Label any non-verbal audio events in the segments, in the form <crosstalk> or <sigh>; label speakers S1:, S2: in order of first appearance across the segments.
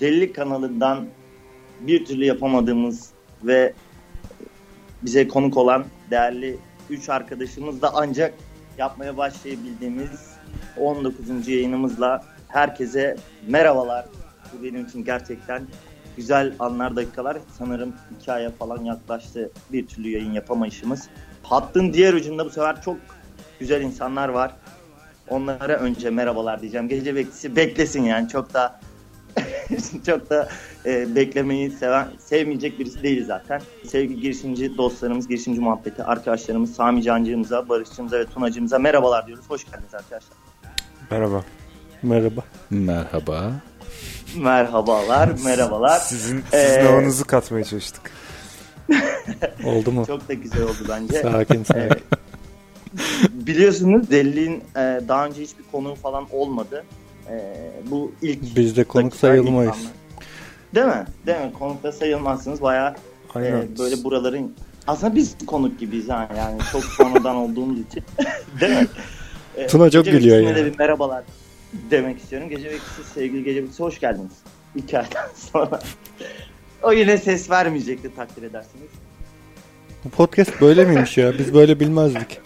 S1: Delilik kanalından bir türlü yapamadığımız ve bize konuk olan değerli 3 arkadaşımız da ancak yapmaya başlayabildiğimiz 19. yayınımızla herkese merhabalar. Bu benim için gerçekten güzel anlar, dakikalar. Sanırım 2 aya falan yaklaştı bir türlü yayın yapamayışımız. Hattın diğer ucunda bu sefer çok güzel insanlar var. Onlara önce merhabalar diyeceğim. Gece bekçisi beklesin yani çok da çok da e, beklemeyi seven, sevmeyecek birisi değil zaten. Sevgili girişimci dostlarımız, girişimci muhabbeti arkadaşlarımız Sami Cancığımıza, Barışçımıza ve Tunacığımıza merhabalar diyoruz. Hoş geldiniz arkadaşlar.
S2: Merhaba.
S3: Merhaba.
S4: Merhaba.
S1: Merhabalar, merhabalar.
S2: Sizin,
S1: Ee,
S2: sizin havanızı katmaya çalıştık.
S3: Oldu mu?
S1: Çok da güzel oldu bence.
S3: Sakin sakin.
S1: Biliyorsunuz Deli'nin e, daha önce hiçbir konuğu falan olmadı. E, bu ilk...
S3: Biz de konuk
S1: dakikalar
S3: sayılmayız.
S1: ilk anlar. Değil mi? Değil mi? Konukta sayılmazsınız. Bayağı e,
S2: Aynen.
S1: böyle buraların... Aslında biz konuk gibiyiz ha yani.
S3: <laughs>
S1: Çok sonradan olduğumuz için. <laughs> Değil mi? E,
S3: Tuna çok
S1: Gece
S3: gülüyor
S1: Bekçisi'ne
S3: yani.
S1: de bir merhabalar demek istiyorum. Gece Bekçisi, sevgili Gece Bekçisi hoş geldiniz. İki aydan <laughs> sonra. o yine ses vermeyecekti takdir edersiniz.
S3: Bu podcast böyle miymiş ya? Biz böyle bilmezdik.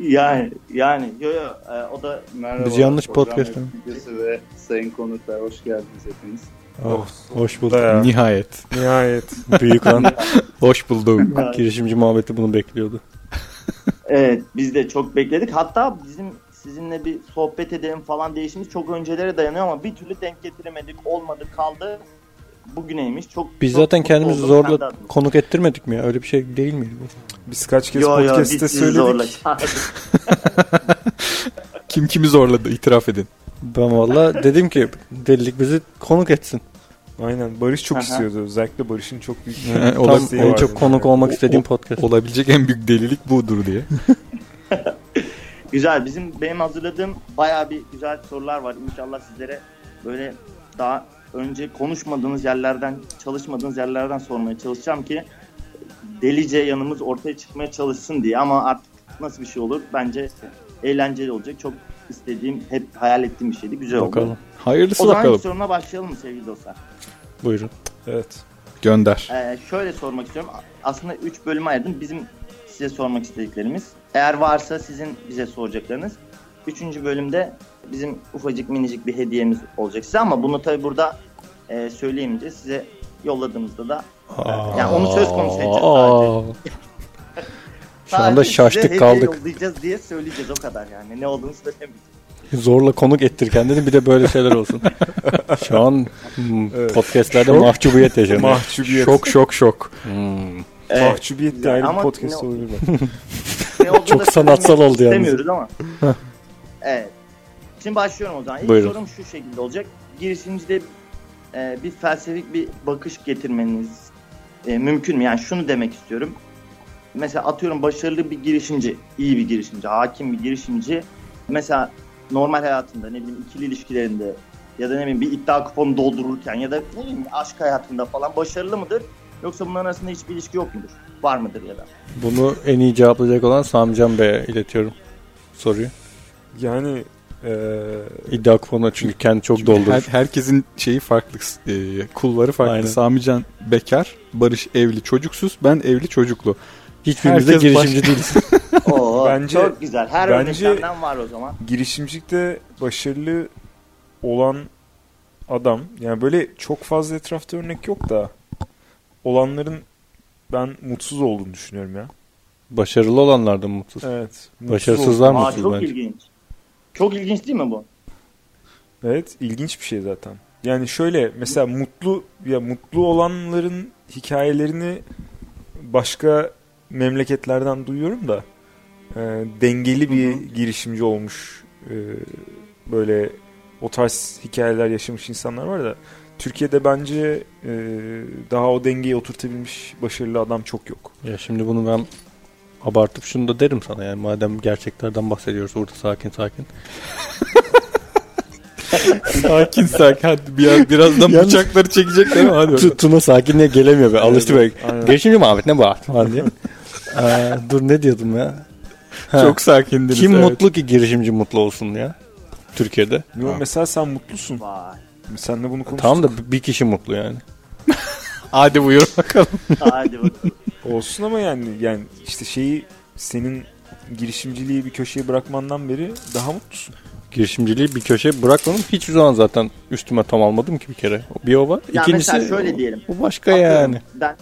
S1: Yani yani yo yo e, o da
S5: Merhaba.
S3: Biz yanlış
S5: program
S3: podcast mi?
S5: yapımcısı ve sayın konuklar hoş geldiniz hepiniz.
S3: Oh, hoş bulduk.
S2: Bayağı.
S4: Nihayet.
S2: Nihayet.
S3: Büyük <laughs> an.
S4: Hoş bulduk.
S3: Girişimci muhabbeti bunu bekliyordu.
S1: Evet biz de çok bekledik. Hatta bizim sizinle bir sohbet edelim falan değişimiz çok öncelere dayanıyor ama bir türlü denk getiremedik. Olmadı kaldı. Bugüneymiş. Çok
S3: Biz
S1: çok
S3: zaten
S1: mutlu
S3: kendimizi
S1: oldum. Sen de
S3: zorla
S1: adın.
S3: konuk ettirmedik mi ya? Öyle bir şey değil miydi bu?
S2: Biz kaç kez
S1: Yo yo biz
S2: podcast'te
S1: sizi
S2: söyledik.
S1: zorla <laughs> çağırdık.
S4: Kim kimi zorladı itiraf edin.
S3: Ben valla dedim ki delilik bizi konuk etsin.
S2: Aynen. Barış çok
S1: Aha.
S2: istiyordu. Özellikle Barış'ın çok büyük bir
S4: Evet, o da
S3: Tam
S2: isteği
S3: en
S2: vardı.
S3: çok konuk olmak
S4: O-
S3: istediğim
S4: o-
S3: podcast.
S4: Olabilecek en büyük delilik budur diye.
S1: Güzel. Bizim benim hazırladığım bayağı bir güzel sorular var. İnşallah sizlere böyle daha önce konuşmadığınız yerlerden, çalışmadığınız yerlerden sormaya çalışacağım ki delice yanımız ortaya çıkmaya çalışsın diye ama artık nasıl bir şey olur? Bence eğlenceli olacak. Çok istediğim, hep hayal ettiğim bir şeydi. Güzel oldu.
S3: Bakalım.
S4: Hayırlısı
S1: O zaman ilk
S4: bakalım.
S1: soruna başlayalım mı sevgili dostlar?
S3: Buyurun.
S2: Evet.
S4: Gönder.
S1: Ee, şöyle sormak istiyorum. Aslında 3 bölüme ayırdım. Bizim size sormak istediklerimiz. Eğer varsa sizin bize soracaklarınız. 3. bölümde bizim ufacık minicik bir hediyemiz olacak size ama bunu tabi burada e, söyleyemeyeceğiz. Size yolladığımızda da yani onu söz konusu edeceğiz sadece.
S3: Aa, Şu anda
S1: Sadece
S3: şaştık
S1: size hediye
S3: kaldık.
S1: yollayacağız diye söyleyeceğiz o kadar yani. Ne olduğunu söylemeyeceğiz.
S3: Zorla konuk ettir kendini bir de böyle şeyler <laughs> olsun. Şu an hmm,
S2: Evet.
S3: podcastlerde
S2: Şok.
S3: mahcubiyet <laughs> yaşanıyor.
S2: Mahcubiyet.
S4: Şok şok şok.
S3: Hmm.
S1: Evet.
S2: Mahcubiyet de ayrı
S1: Ama
S2: bir podcast
S1: ne-
S2: olabilir.
S1: Ne olduğunu
S3: Çok
S1: da
S3: sanatsal
S1: söylemek
S3: oldu yalnız.
S1: istemiyoruz ama. evet. Şimdi başlıyorum o zaman. İlk
S3: Buyurun.
S1: sorum şu şekilde olacak. Girişimcide e, bir felsefik bir bakış getirmeniz e, mümkün mü? Yani şunu demek istiyorum. Mesela atıyorum başarılı bir girişimci, iyi bir girişimci, hakim bir girişimci. Mesela normal hayatında ne bileyim ikili ilişkilerinde ya da ne bileyim bir iddia kuponu doldururken ya da ne bileyim aşk hayatında falan başarılı mıdır? Yoksa bunların arasında hiçbir ilişki yok mudur? Var mıdır ya da?
S3: Bunu en iyi cevaplayacak olan Samcan Bey'e iletiyorum soruyu.
S2: Yani e, eee
S3: İddia kuponuna çünkü kendi çok
S4: Her-
S3: doldurur.
S4: herkesin şeyi farklı. e, kulları farklı.
S3: Aynen.
S4: Samican bekar. Barış evli çocuksuz. Ben evli çocuklu.
S3: Hiçbirimiz de
S4: herkes
S3: girişimci
S4: <laughs>
S3: değiliz. <laughs>
S1: Oo,
S2: Bence-
S1: çok güzel. Her
S2: bence-
S1: örneklerinden var o zaman.
S2: girişimcilikte başarılı olan adam yani böyle çok fazla etrafta örnek yok da olanların ben mutsuz olduğunu düşünüyorum ya.
S3: Başarılı olanlardan mutsuz.
S2: Evet. mutsuz
S3: Başarısızlar
S1: Aa,
S3: mutsuz
S1: çok
S3: bence.
S1: ilginç. Çok ilginç değil mi bu?
S2: Evet, ilginç bir şey zaten. Yani şöyle mesela mutlu ya mutlu olanların hikayelerini başka memleketlerden duyuyorum da e, dengeli bir girişimci olmuş e, böyle o tarz hikayeler yaşamış insanlar var da Türkiye'de bence e, daha o dengeyi oturtabilmiş başarılı adam çok yok.
S3: Ya şimdi bunu ben abartıp şunu da derim sana yani madem gerçeklerden bahsediyoruz orada sakin sakin.
S4: <laughs> sakin sakin. Hadi biraz, birazdan
S3: <laughs> Yalnız-
S4: bıçakları çekecekler ama hadi.
S3: Tu-
S4: bakalım.
S3: Tuna sakinliğe gelemiyor be alıştı be.
S2: Aynen.
S3: Girişimci Muhammed ne bu falan diye. Aa, dur ne diyordum ya? Ha,
S4: Çok sakindiniz.
S3: Kim
S4: evet.
S3: mutlu ki girişimci mutlu olsun ya? Türkiye'de.
S2: Yo,
S4: Ha.
S2: Mesela sen mutlusun.
S1: Vay.
S2: Sen de bunu konuştuk.
S3: Tamam da bir kişi mutlu yani. Hadi buyur bakalım.
S1: Hadi bakalım.
S2: Olsun ama yani yani işte şeyi senin girişimciliği bir köşeye bırakmandan beri daha mutlusun.
S3: Girişimciliği bir köşeye bırakmadım. Hiç zaman zaten üstüme tam almadım ki bir kere. Bir o var.
S1: Ya
S3: İkincisi
S1: mesela şöyle diyelim.
S3: Bu başka
S1: Atıyorum,
S3: yani.
S1: Ben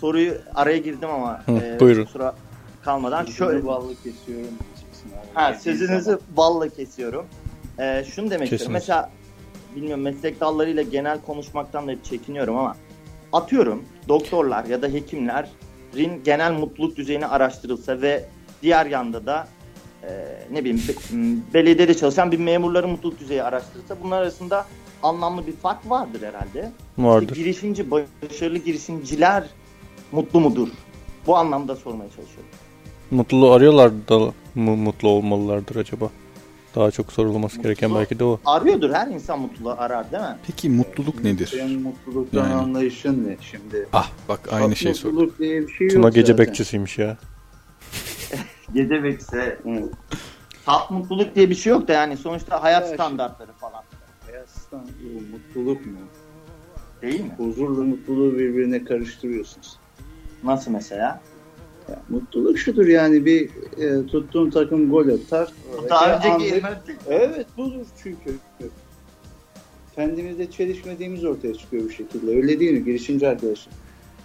S1: soruyu araya girdim ama e,
S3: Hı, buyurun.
S1: kusura kalmadan şöyle
S5: Şöyle ballı kesiyorum. diyeceksin abi.
S1: Ha,
S5: Yediği
S1: sözünüzü
S5: zaman.
S1: balla kesiyorum. Ee, şunu demek
S3: Kesiniz.
S1: istiyorum. Mesela bilmiyorum meslek dallarıyla genel konuşmaktan da hep çekiniyorum ama atıyorum doktorlar ya da hekimlerin genel mutluluk düzeyini araştırılsa ve diğer yanda da e, ne bileyim be- m, belediyede çalışan bir memurların mutluluk düzeyi araştırılsa bunlar arasında anlamlı bir fark vardır herhalde. İşte
S3: Vardır.
S1: girişimci, başarılı girişimciler mutlu mudur? Bu anlamda sormaya çalışıyorum.
S3: Mutluluğu arıyorlar da mı mutlu olmalılardır acaba? Daha çok sorulması gereken
S1: Mutlu-
S3: belki de o.
S1: Arıyordur her insan mutluluğu arar değil mi?
S4: Peki mutluluk nedir?
S5: Senin mutluluktan
S4: Yani.
S5: anlayışın ne şimdi?
S4: Ah bak aynı şey sor.
S5: Mutluluk diye bir şey yok
S3: Tuna gece
S5: zaten.
S3: bekçisiymiş ya.
S1: Gece bekse
S5: Hı.
S1: Tat mutluluk diye bir şey yok da yani sonuçta hayat
S5: Evet.
S1: standartları falan
S5: Hayattan bu mutluluk mu?
S1: değil mi?
S5: Huzurla mutluluğu birbirine karıştırıyorsunuz.
S1: Nasıl mesela?
S5: Ya, mutluluk şudur yani bir e, tuttuğun takım gol atar.
S1: Bu daha
S5: Oradaki
S1: önceki
S5: anlık- Evet budur çünkü. Kendimizde çelişmediğimiz ortaya çıkıyor bir şekilde. Öyle değil mi girişimci arkadaşım?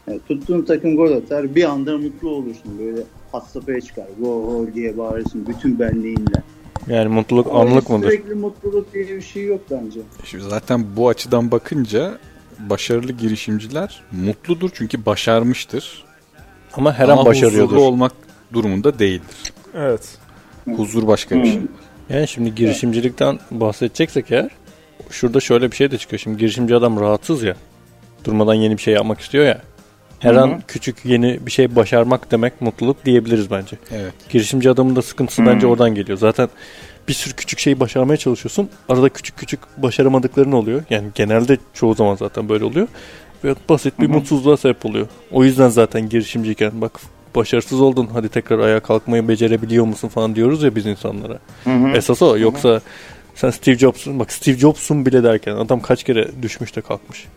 S5: Yani tuttuğun takım gol atar bir anda mutlu olursun. Böyle hassapaya çıkar. Gol gol diye bağırırsın bütün benliğinle.
S3: Yani mutluluk
S5: Ama
S3: anlık mıdır?
S5: Sürekli mutluluk diye bir şey yok bence.
S4: Şimdi zaten bu açıdan bakınca başarılı girişimciler mutludur çünkü başarmıştır.
S3: Ama her
S4: Ama
S3: an başarıyordur.
S4: huzurlu olmak durumunda değildir.
S2: Evet.
S4: Huzur başka bir
S1: Hmm.
S4: şey.
S3: Yani şimdi girişimcilikten bahsedeceksek eğer şurada şöyle bir şey de çıkıyor. Şimdi girişimci adam rahatsız ya. Durmadan yeni bir şey yapmak istiyor ya. Her
S1: Hı hı.
S3: an küçük yeni bir şey başarmak demek mutluluk diyebiliriz bence.
S4: Evet.
S3: Girişimci adamın da sıkıntısı
S1: Hı.
S3: bence oradan geliyor. Zaten bir sürü küçük şeyi başarmaya çalışıyorsun. Arada küçük küçük başaramadıkların oluyor. Yani genelde çoğu zaman zaten böyle oluyor. Ve basit bir
S1: Hı hı.
S3: mutsuzluğa sebep oluyor. O yüzden zaten girişimciyken bak başarısız oldun hadi tekrar ayağa kalkmayı becerebiliyor musun falan diyoruz ya biz insanlara. Esas o. Yoksa sen Steve Jobs'un bak Steve Jobs'un bile derken adam kaç kere düşmüş de kalkmış.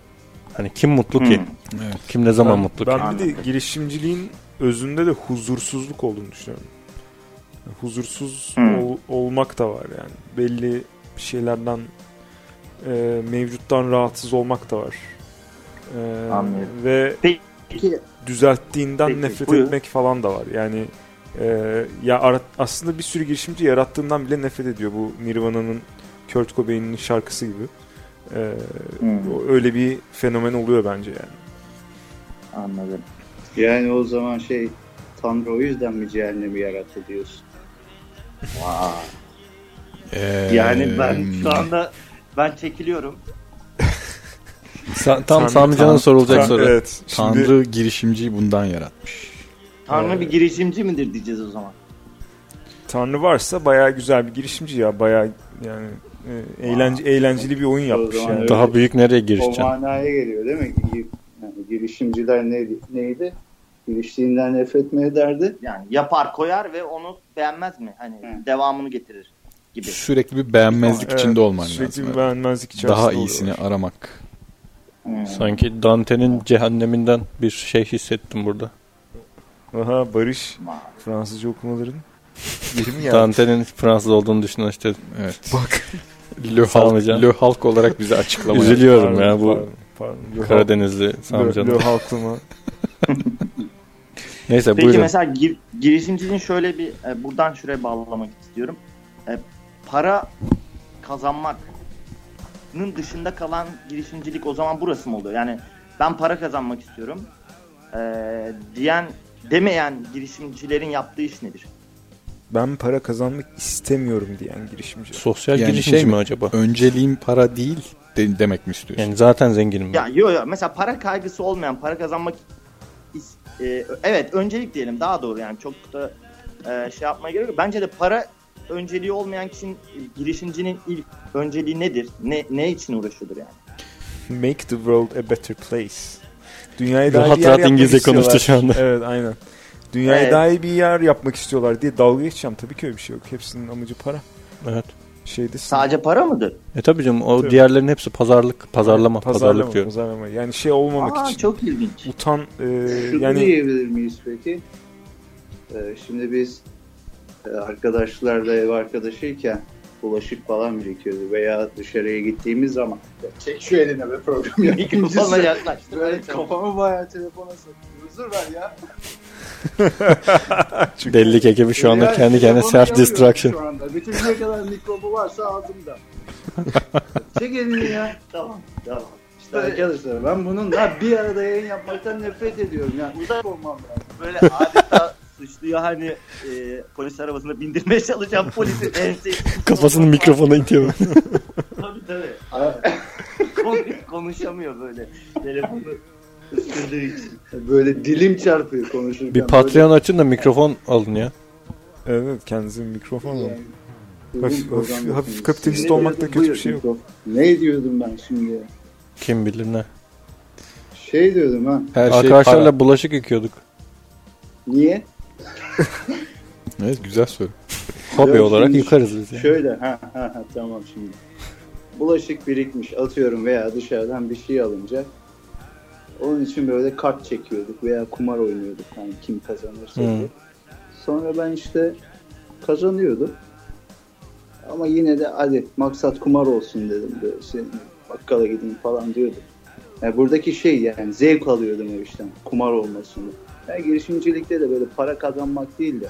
S3: Hani kim mutlu ki?
S1: Hı.
S4: Evet.
S3: Kim ne zaman
S2: ben,
S3: mutlu ki?
S2: Ben bir de girişimciliğin özünde de huzursuzluk olduğunu düşünüyorum. Huzursuz
S1: Hmm.
S2: ol- olmak da var yani. Belli bir şeylerden e, mevcuttan rahatsız olmak da var. E,
S1: Anlıyorum.
S2: Ve
S1: Peki
S2: düzelttiğinden
S1: Peki,
S2: nefret
S1: buyur.
S2: etmek falan da var. Yani e, ya ara- aslında bir sürü girişimci yarattığından bile nefret ediyor. Bu Nirvana'nın Kurt Cobain'in şarkısı gibi. E,
S1: Hmm.
S2: o- öyle bir fenomen oluyor bence yani.
S1: anladım.
S5: Yani o zaman şey Tanrı o yüzden mi cehennemi yarattı diyorsun?
S1: Vay.
S4: Ee,
S1: Yani ben şu anda ben çekiliyorum.
S3: Sa- tam
S2: Tanrı-
S3: Sami Can'a
S4: Tan-
S3: sorulacak
S4: Tan-
S3: soru.
S2: Evet.
S4: Tanrı
S2: şimdi-
S4: girişimciyi bundan yaratmış.
S1: Tanrı
S2: Ee,
S1: bir girişimci midir diyeceğiz o zaman.
S2: Tanrı varsa bayağı güzel bir girişimci ya. Bayağı yani e, eğlence, eğlenceli bir oyun yapmış
S5: zaman
S2: yani.
S5: öyle.
S3: Daha büyük nereye
S5: O
S3: girişeceksin?
S5: manaya geliyor değil mi? Gi- Yani girişimciler neydi? neydi? Giriştiğinden nefret mi ederdi?
S1: Yani yapar koyar ve onu beğenmez mi? Hani
S5: Hı.
S1: devamını getirir gibi.
S4: Sürekli bir beğenmezlik
S2: Evet,
S4: içinde olman
S2: Sürekli bir
S4: lazım.
S2: beğenmezlik içerisinde
S4: Daha iyisini
S2: oluyorlar.
S4: aramak.
S1: Hmm.
S3: Sanki Dante'nin cehenneminden bir şey hissettim burada.
S2: Aha Barış
S1: Vay.
S2: Fransızca okumaların yeri mi geldi?
S3: Dante'nin Fransız olduğunu düşünen işte
S2: <laughs>
S4: Evet.
S2: Bak.
S4: Le
S3: Sami
S4: halk,
S3: Can.
S4: Le halk olarak bize açıklama. yap.
S3: üzülüyorum ya
S2: Pardon,
S3: bu
S2: pardon, pardon.
S3: Karadenizli Sami
S2: Lö-
S3: Can'ın.
S2: Lö halkıma.
S3: Neyse
S1: Peki
S3: buyurun.
S1: mesela gir- girişimciliğin şöyle bir e, buradan şuraya bağlamak istiyorum. E, para kazanmakın dışında kalan girişimcilik o zaman burası mı oluyor? Yani ben para kazanmak istiyorum e, diyen demeyen girişimcilerin yaptığı iş nedir?
S2: Ben para kazanmak istemiyorum diyen girişimci.
S3: Sosyal
S4: Yani
S3: girişimci
S4: şey mi?
S3: mi acaba?
S4: Önceliğim para değil de- demek mi istiyorsun?
S3: Yani zaten zenginim.
S1: Ya
S3: ben.
S1: yo yo mesela para kaygısı olmayan para kazanmak is- e, evet öncelik diyelim daha doğru yani çok da e, şey yapmaya gerek yok. Bence de para önceliği olmayan kişinin girişimcinin ilk önceliği nedir? Ne ne için uğraşıyordur yani?
S2: Make the world a better place. Dünyayı daha
S3: Rahat
S2: iyi bir yer
S3: rahat
S2: yapmak
S3: İngilizce
S2: istiyorlar.
S3: konuştu şu anda.
S2: Evet aynen. Dünyayı
S1: Evet.
S2: daha iyi bir yer yapmak istiyorlar diye dalga geçeceğim. Tabii ki öyle bir şey yok. Hepsinin amacı para.
S3: Evet.
S2: şeydesin.
S1: Sadece para mıdır?
S3: E tabii canım o
S2: Tabii.
S3: diğerlerin hepsi pazarlık, pazarlama, pazarlık diyor.
S2: pazarlama. Yani şey olmamak
S1: Aa
S2: için.
S1: çok <laughs> ilginç.
S2: Utan e,
S5: Şunu
S2: yani
S5: diyebilir miyiz peki? Ee, şimdi biz e, arkadaşlarla ev arkadaşıyken bulaşık falan birikiyordu veya dışarıya gittiğimiz zaman "Ya çek şu eline be program <laughs> ya
S1: Bana
S5: ikincisi.
S1: yaklaştı.
S5: Böyle kafamı bayağı telefona sokuyor. Huzur ver ya.
S3: Delilik ekibi şu anda
S5: Ya,
S3: kendi kendine
S5: telefonu
S3: self
S5: yapıyorum
S3: destruction.
S5: Şu anda. Bütün ne kadar mikrobu
S3: <laughs>
S5: varsa ağzımda. çek elini ya.
S1: Tamam tamam.
S5: İşte arkadaşlar ben bununla bir arada yayın yapmaktan nefret ediyorum. Yani uzak olmam lazım.
S1: Böyle adeta suçluyu hani e, polis arabasına bindirmeye çalışan <laughs> polisin ensesi.
S3: Kafasını mikrofona itiyor.
S1: Tabii tabii. Kon- konuşamıyor böyle. Telefonu ısırdığı için.
S5: Böyle dilim çarpıyor konuşurken.
S3: bir Patreon açın da mikrofon alın ya.
S2: evet kendinize mikrofon alın.
S5: Yani, uzun
S2: Hafif-
S5: program
S2: hafif-
S5: yapıyoruz.
S2: hafif kapitalist
S5: Ne
S2: olmakta
S5: diyordum?
S2: kötü bir şey
S5: Buyur Niko. Ne diyordum ben şimdi?
S3: Kim bilir ne.
S5: Şey diyordum ha.
S4: Her şey
S3: Arkadaşlarla
S4: para.
S3: bulaşık yıkıyorduk.
S5: Niye?
S4: Evet güzel soru.
S3: Hobi
S5: Yok,
S3: olarak
S5: şimdi
S3: yıkarız biz yani.
S5: Şöyle ha ha ha tamam şimdi. Bulaşık birikmiş atıyorum veya dışarıdan bir şey alınca onun için böyle kart çekiyorduk veya kumar oynuyorduk hani kim kazanırsa
S3: Hı.
S5: diye. Sonra ben işte kazanıyordum. Ama yine de hadi maksat kumar olsun dedim böyle şey, bakkala gideyim falan diyordum. Yani buradaki şey yani zevk alıyordum o işten kumar olmasını. Yani girişimcilikte de böyle para kazanmak değil de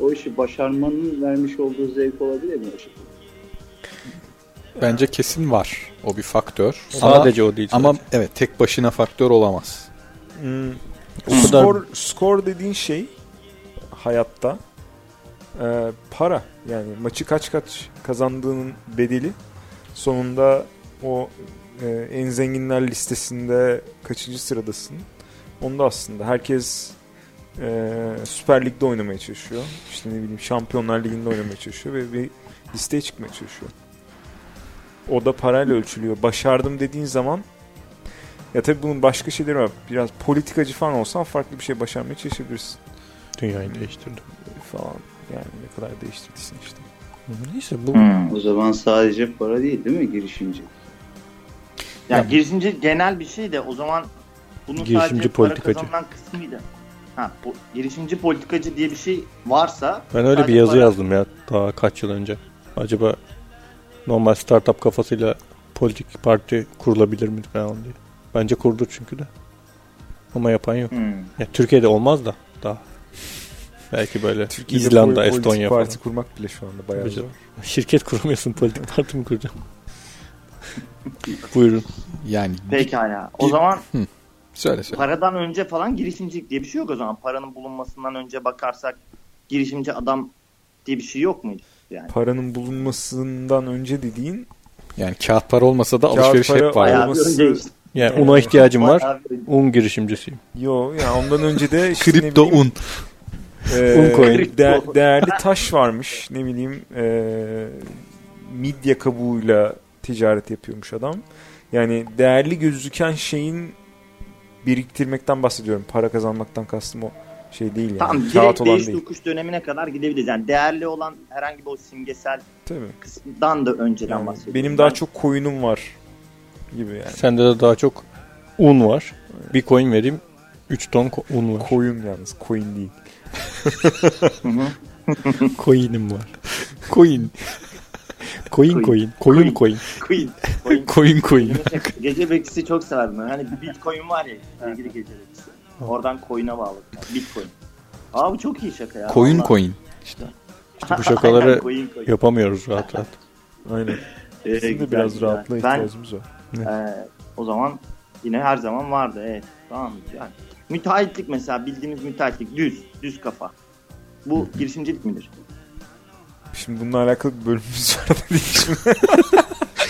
S5: o işi başarmanın vermiş olduğu zevk olabilir mi o şey? şekilde?
S4: Bence kesin var. O bir faktör.
S3: Sadece o değil.
S4: Ama evet tek başına faktör olamaz.
S2: Hmm,
S3: O kadar-
S2: skor, skor dediğin şey hayatta e, para. Yani maçı kaç kaç kazandığının bedeli sonunda o e, en zenginler listesinde kaçıncı sıradasın. Onda aslında herkes e, Süper Lig'de oynamaya çalışıyor. İşte ne bileyim Şampiyonlar Ligi'nde oynamaya çalışıyor ve bir listeye çıkmaya çalışıyor. O da parayla ölçülüyor. Başardım dediğin zaman ya tabii bunun başka şeyleri var. Biraz politikacı falan olsan farklı bir şey başarmaya çalışabilirsin
S3: dünyayı değiştirdim.
S2: falan. Yani ne kadar değiştirdiysen işte.
S3: Neyse bu
S5: O zaman sadece para değil değil mi girişimci?
S1: Ya girişimci genel bir şey de o zaman bunun
S3: Girişimci
S1: sadece
S3: politikacı.
S1: para kazanan kısmıydı. Ha, bu, girişimci politikacı diye bir şey varsa
S3: Ben öyle bir
S1: sadece
S3: yazı
S1: para-
S3: yazdım ya daha kaç yıl önce. Acaba normal startup kafasıyla politik parti kurulabilir mi falan diye. Bence kurdu çünkü de. Ama yapan yok.
S1: Hmm.
S3: Ya Türkiye'de olmaz da daha. Belki böyle
S2: Türkiye'de
S3: İzlanda,
S2: pol- politik
S3: Estonya falan.
S2: parti kurmak bile şu anda bayağı
S3: Tabii
S2: zor.
S3: canım. Şirket
S2: <laughs>
S3: kuramıyorsun politik parti mi kuracağım? Buyurun.
S4: Yani
S1: Pekala. O zaman
S4: söyle söyle.
S1: paradan önce falan girişimcilik diye bir şey yok o zaman. Paranın bulunmasından önce bakarsak girişimci adam diye bir şey yok muydu? Yani.
S2: Paranın bulunmasından önce dediğin
S4: Yani kağıt para olmasa da
S2: Kağıt
S4: alışveriş
S2: para
S4: hep var.
S2: ayağı-
S1: Bayağı bir
S2: Olması-
S1: önce işte.
S3: Yani una ihtiyacım var.
S1: Bayağı bir-
S3: Un girişimcisiyim.
S2: yo ya ondan önce de işte ne
S4: Kripto
S2: bileyim,
S4: un.
S2: e,
S3: un coin.
S2: <laughs> değer- değerli taş varmış. Ne bileyim e, midye kabuğuyla ticaret yapıyormuş adam. Yani değerli gözüken şeyin biriktirmekten bahsediyorum. Para kazanmaktan kastım o şey değil yani.
S1: Tamam
S2: Kağıt
S1: direkt
S2: olan
S1: değiş
S2: değil.
S1: dokuş dönemine kadar gidebiliriz. Yani değerli olan herhangi bir o simgesel
S2: Tabii.
S1: kısımdan da önceden
S2: Yani
S1: bahsediyorum.
S2: benim daha
S1: Ben-
S2: çok koyunum var gibi yani.
S3: Sende de daha çok un var. Bir coin vereyim. 3 ton ko- un var.
S2: Koyun yalnız, koyun değil.
S1: Hı hı.
S3: Coin'im var. Coin. Coin coin. Koyun coin.
S1: Queen. Queen.
S3: <laughs>
S4: Koyun koyun.
S1: gece bekçisi çok severdim. ben. Hani Bitcoin var ya sevgili gece bekçisi. Oradan coin'e bağladım. Yani Bitcoin. Aa bu çok iyi şaka ya.
S4: Koyun
S1: Vallahi.
S4: koyun.
S3: İşte bu şakaları
S1: Aynen, coin, coin.
S3: yapamıyoruz rahat rahat.
S2: Aynen.
S1: Ee,
S2: Bizim de
S1: güzel,
S2: biraz
S1: güzel.
S2: rahatlığa
S1: Ben
S2: ihtiyacımız var.
S1: Ee, o zaman yine her zaman vardı. Evet. Tamam yani. Müteahhitlik mesela bildiğimiz müteahhitlik düz, düz kafa. Bu girişimcilik midir?
S2: Şimdi bununla alakalı bir bölümümüz var dediği için. <laughs>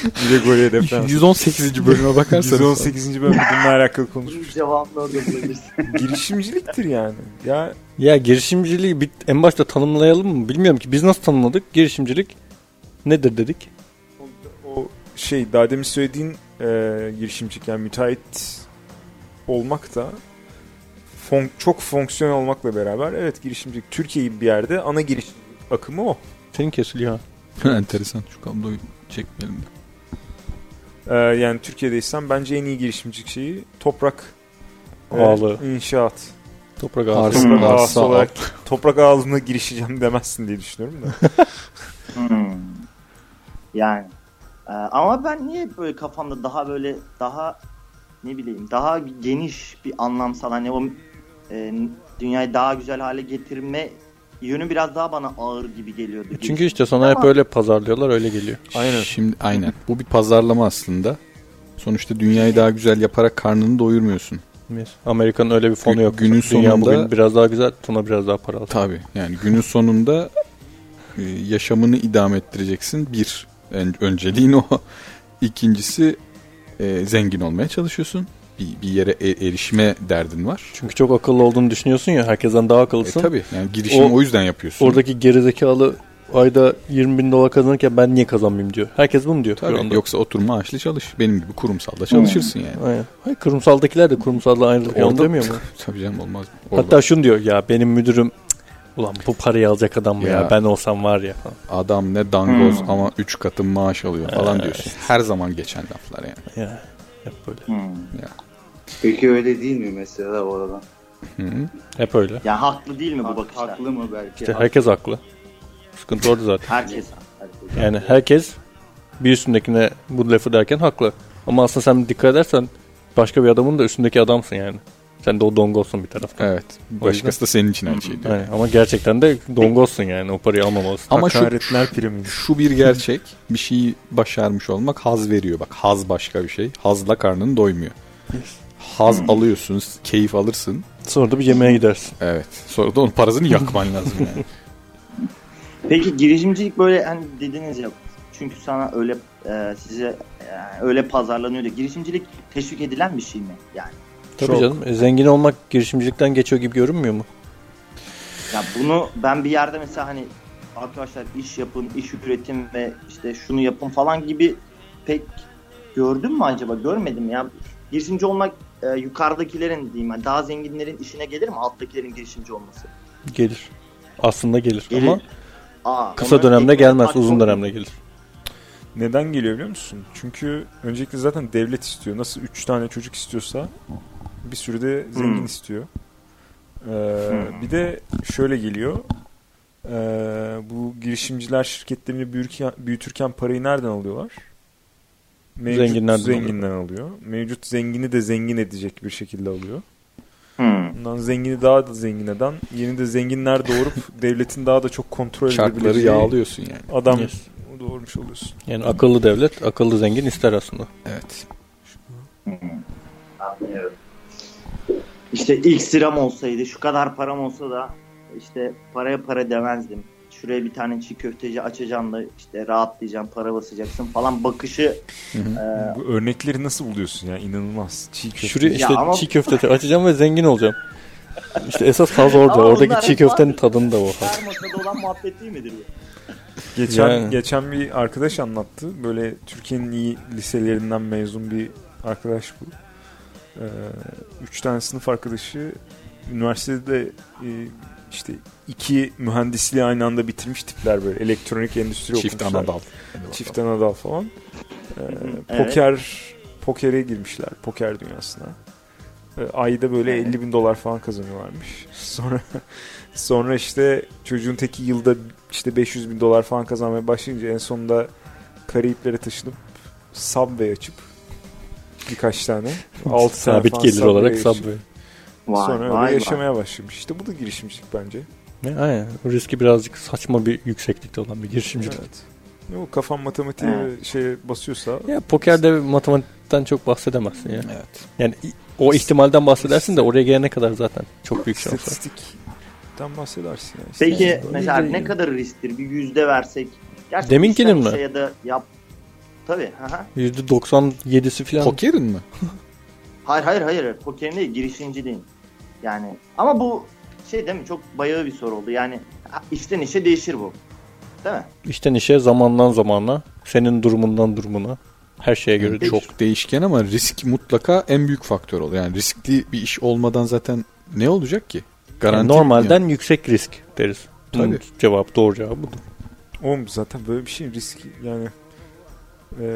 S2: Bir de Gore'ye defans.
S4: 118. bölüme bakarsanız
S2: 118. bölümde bununla alakalı konuşmuş.
S1: Bunun cevabını orada bulabilirsin.
S2: Girişimciliktir yani. Ya
S3: <laughs> Ya girişimciliği bir, en başta tanımlayalım mı? Bilmiyorum ki biz nasıl tanımladık? Girişimcilik nedir dedik?
S2: o şey daha demin söylediğin e, girişimcilik yani müteahhit olmak da fon- çok fonksiyonel olmakla beraber evet girişimcilik Türkiye'yi bir yerde ana giriş akımı o.
S3: Senin kesiliyor ha.
S4: <laughs> Enteresan. Şu kabloyu çekmeyelim. de.
S2: Ee, yani Türkiye'deysem bence en iyi girişimcilik şeyi toprak e,
S3: Ağalı.
S2: inşaat.
S3: Toprak
S4: Arsa.
S3: ağası.
S2: Toprak
S4: Arsa
S2: ağası
S4: ağ.
S2: olarak toprak ağalığına girişeceğim demezsin diye düşünüyorum da.
S1: Hmm. Yani. Ee, ama ben niye hep böyle kafamda daha böyle daha ne bileyim daha geniş bir anlamsal hani o e, dünyayı daha güzel hale getirme yönü biraz daha bana ağır gibi geliyordu.
S3: E, Çünkü işte sana hep
S1: Ama-
S3: öyle pazarlıyorlar öyle geliyor.
S2: Aynen.
S4: Şimdi aynen. Bu bir pazarlama aslında. Sonuçta dünyayı daha güzel yaparak karnını doyurmuyorsun.
S3: Amerika'nın öyle bir fonu
S4: Gün-
S3: yok.
S4: günün
S3: Dünya
S4: sonunda-
S3: bugün biraz daha güzel, Tuna biraz daha paralı.
S4: Tabii. Yani günün sonunda e, yaşamını idame ettireceksin. Bir. En, önceliğin o. <laughs> İkincisi e, zengin olmaya çalışıyorsun. Bir, bir yere e- erişme derdin var.
S3: Çünkü çok akıllı olduğunu düşünüyorsun ya, herkesten daha
S4: E,
S3: akıllısın.
S4: tabii. Yani girişimi
S3: O-
S4: o, yüzden yapıyorsun.
S3: Oradaki gerizekalı ayda 20 bin dolar kazanırken ben niye kazanmayayım diyor. Herkes bunu diyor.
S4: Tabii.
S3: şu anda.
S4: Yoksa otur maaşlı çalış. Benim gibi kurumsalda çalışırsın yani.
S3: Aynen. Hayır, kurumsaldakiler de kurumsalda ayrılık
S4: Orada-
S3: yanı demiyor mu?
S4: <laughs> Tabii canım olmaz. mı? Orada
S3: Hatta şunu diyor ya benim müdürüm "Cık, ulan bu parayı alacak adam mı ya,
S4: Ya.
S3: ben olsam var ya. falan."
S4: adam ne dangoz
S1: Hmm.
S4: ama 3 katın maaş alıyor falan diyorsun. Her zaman geçen laflar yani.
S3: Ya. Hep böyle.
S1: Hmm.
S5: Peki öyle değil mi mesela oradan?
S4: Hı.
S3: Hep öyle.
S1: Ya haklı değil mi bu
S5: Hak-
S1: bakışlar?
S5: Haklı mı belki?
S3: İşte herkes haklı. Sıkıntı orada zaten.
S1: Herkes.
S5: Haklı.
S3: Yani herkes bir üstündekine bu lafı derken haklı. Ama aslında sen dikkat edersen başka bir adamın da üstündeki adamsın yani. Sen de o dongolsun bir taraf.
S4: Evet. Başkası da senin için her şeyi diyor.
S3: Aynen. Ama gerçekten de dongolsun yani o parayı almamalısın.
S4: Ama şu,
S2: Hakaretler primi.
S4: şu bir gerçek. Bir şeyi başarmış olmak haz veriyor. Bak haz başka bir şey. Hazla karnın doymuyor. Haz alıyorsun, keyif alırsın.
S3: Sonra da bir yemeğe gidersin.
S4: Evet. Sonra da onun parasını yakman lazım yani.
S1: Peki girişimcilik böyle hani dediniz ya çünkü sana öyle e, size e, öyle pazarlanıyor da girişimcilik teşvik edilen bir şey mi? Yani
S3: Tabii
S2: Çok.
S3: canım. E, zengin olmak girişimcilikten geçiyor gibi görünmüyor mu?
S1: Ya bunu ben bir yerde mesela hani arkadaşlar iş yapın, iş üretin ve işte şunu yapın falan gibi pek gördüm mü acaba? Görmedim ya. Girişimci olmak e, yukarıdakilerin diyeyim yani daha zenginlerin işine gelir mi alttakilerin girişimci olması?
S3: Gelir. Aslında gelir,
S1: Gelir.
S3: ama
S1: Aa,
S3: kısa
S1: ona
S3: dönemde
S1: ekmek
S3: gelmez,
S1: parası
S3: uzun
S1: olmuyor.
S3: dönemde gelir.
S2: Neden geliyor biliyor musun? Çünkü öncelikle zaten devlet istiyor. Nasıl 3 tane çocuk istiyorsa bir sürü de zengin
S1: Hmm.
S2: istiyor. Ee, Bir de şöyle geliyor. Ee, bu girişimciler şirketlerini büyürken, büyütürken parayı nereden alıyorlar? Mevcut
S3: Zenginlerden
S2: zenginden alıyor. Mevcut zengini de zengin edecek bir şekilde alıyor.
S1: Hmm.
S2: Bundan zengini daha da zengin eden, yeni de zenginler doğurup <laughs> devletin daha da çok kontrol
S4: Çarkları
S2: edebileceği
S4: yağlıyorsun yani.
S2: adam
S3: Yes.
S2: doğurmuş oluyorsun.
S3: Yani akıllı devlet, akıllı zengin ister aslında.
S4: Evet.
S1: Anlıyorum. İşte ilk sıram olsaydı, şu kadar param olsa da işte paraya para demezdim. Şuraya bir tane çiğ köfteci açacağım da işte rahatlayacağım, para basacaksın falan bakışı e,
S2: Bu örnekleri nasıl buluyorsun ya? İnanılmaz. Çiğ köfte.
S3: Şuraya
S1: Ya
S3: işte
S1: ama-
S3: çiğ köfte te- açacağım ve zengin olacağım.
S1: <laughs>
S3: İşte esas haz orada.
S1: Ama bunlar
S3: Oradaki çiğ
S1: hep
S3: köftenin
S1: vardır.
S3: tadını da o. haz.
S1: Her masada olan muhabbet değil midir bu?
S2: Geçen
S3: Yani.
S2: geçen bir arkadaş anlattı. Böyle Türkiye'nin iyi liselerinden mezun bir arkadaş bu. Ee, üç tane sınıf arkadaşı üniversitede e, işte iki mühendisliği aynı anda bitirmiş tipler böyle. Elektronik endüstri
S4: Çift
S2: okumuşlar.
S4: anadal.
S2: Çift anadal falan. Ee,
S1: Evet.
S2: Poker pokere girmişler. Poker dünyasına. Ee, ayda böyle
S1: Evet.
S2: 50 bin dolar falan kazanıyorlarmış. <laughs> Sonra sonra işte çocuğun teki yılda işte 500 bin dolar falan kazanmaya başlayınca en sonunda Karayiplere taşınıp Subway açıp birkaç tane. 6 tane
S3: Sabit
S2: falan
S3: gelir olarak
S2: açıp
S3: Subway.
S2: Sonra öyle yaşamaya başlamış. İşte bu da girişimcilik bence.
S3: Ne? Aynen. O riski birazcık saçma bir yükseklikte olan bir girişimcilik.
S2: Evet. Ne o kafan matematiğe
S1: Evet.
S2: şey basıyorsa
S3: Ya pokerde matematikten çok bahsedemezsin ya.
S4: Evet.
S3: Yani i- o ihtimalden bahsedersin de oraya gelene kadar zaten çok büyük şans var.
S2: İstatistikten bahsedersin yani.
S1: Peki
S2: İstatistik-
S1: mesela
S2: İyice-
S1: ne kadar risktir? Bir yüzde versek. Gerçi
S3: Deminkinin
S1: işten
S3: mi?
S1: işe Ya da yap. Tabii. hı hı.
S3: %97'si falan.
S4: Pokerin mi?
S1: Hayır hayır hayır. Pokerin değil, girişimciliğin. Yani ama bu şey değil mi? Çok bayağı bir soru oldu. Yani ha, işten işe değişir bu. Değil mi?
S3: İşten işe zamandan zamana, senin durumundan durumuna, her şeye göre
S1: Peki.
S3: çok.
S4: Çok değişken ama risk mutlaka en büyük faktör oluyor. Yani riskli bir iş olmadan zaten ne olacak ki?
S3: Yani
S4: Garanti
S3: normalden yüksek risk deriz. Bunun
S4: Tabii.
S3: cevap doğru cevabı budur.
S2: Oğlum zaten böyle bir şey risk yani e,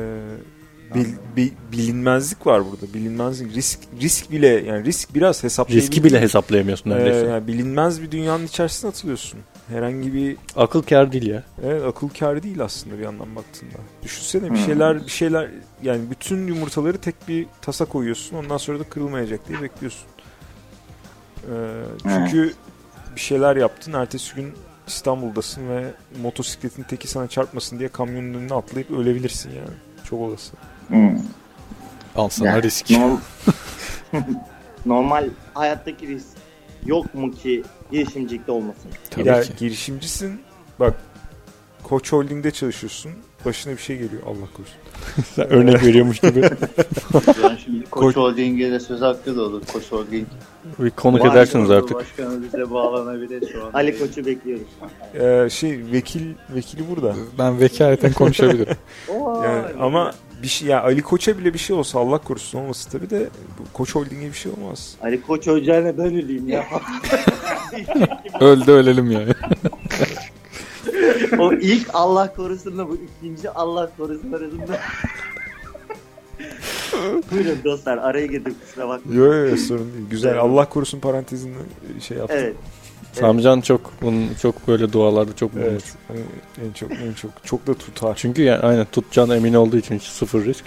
S2: bil- bi- bilinmezlik var burada. Bilinmezlik risk risk bile yani risk biraz hesaplayabildiğin
S3: Riski bile hesaplayamıyorsun neredeyse.
S2: e, yani bilinmez bir dünyanın içerisine atılıyorsun. Herhangi bir
S3: Akıl kâr değil ya.
S2: Evet akıl kârı değil aslında bir yandan baktığında. Düşünsene bir
S1: Hmm.
S2: şeyler bir şeyler yani bütün yumurtaları tek bir tasa koyuyorsun ondan sonra da kırılmayacak diye bekliyorsun. Ee, çünkü bir şeyler yaptın ertesi gün İstanbul'dasın ve motosikletin teki sana çarpmasın diye kamyonun önüne atlayıp ölebilirsin yani. Çok olası.
S1: Hmm.
S4: Al sana
S1: Yani
S4: risk.
S1: Nor- <laughs> Normal hayattaki risk yok mu ki girişimcilikte olmasın?
S4: Tabii
S2: ya
S4: ki.
S2: girişimcisin bak Koç Holding'de çalışıyorsun. Başına bir şey geliyor Allah korusun.
S3: Sen örnek veriyormuş <laughs> gibi.
S5: Yani şimdi Koç Holding'e de söz hakkı da olur. Koç Holding.
S3: Bir konuk
S5: Var,
S3: edersiniz
S5: doğru,
S3: artık.
S5: Başkanı bize bağlanabilir şu an.
S1: Ali Koç'u bekliyoruz.
S2: Ee, şey vekil vekili burada.
S4: Ben vekaleten konuşabilirim.
S5: Oo,
S2: Yani ama bir şey ya Ali Koç'a bile bir şey olsa Allah korusun olması tabii de bu Koç Holding'e bir şey olmaz.
S1: Ali Koç öleceğine ben öleyim ya.
S4: Öldü ölelim yani. <laughs>
S1: o ilk Allah korusun da bu ikinci Allah korusun
S2: <laughs>
S1: arasında. Buyurun dostlar araya girdik kusura bakmayın.
S2: Yok yok sorun değil. Güzel Allah korusun parantezini şey yaptım.
S1: Evet.
S3: Samcan çok bunun çok böyle dualarda çok bulunur.
S2: Evet. Hani En çok en çok <laughs> çok da tutar.
S3: Çünkü yani aynen tutacağına emin olduğu için hiç sıfır risk.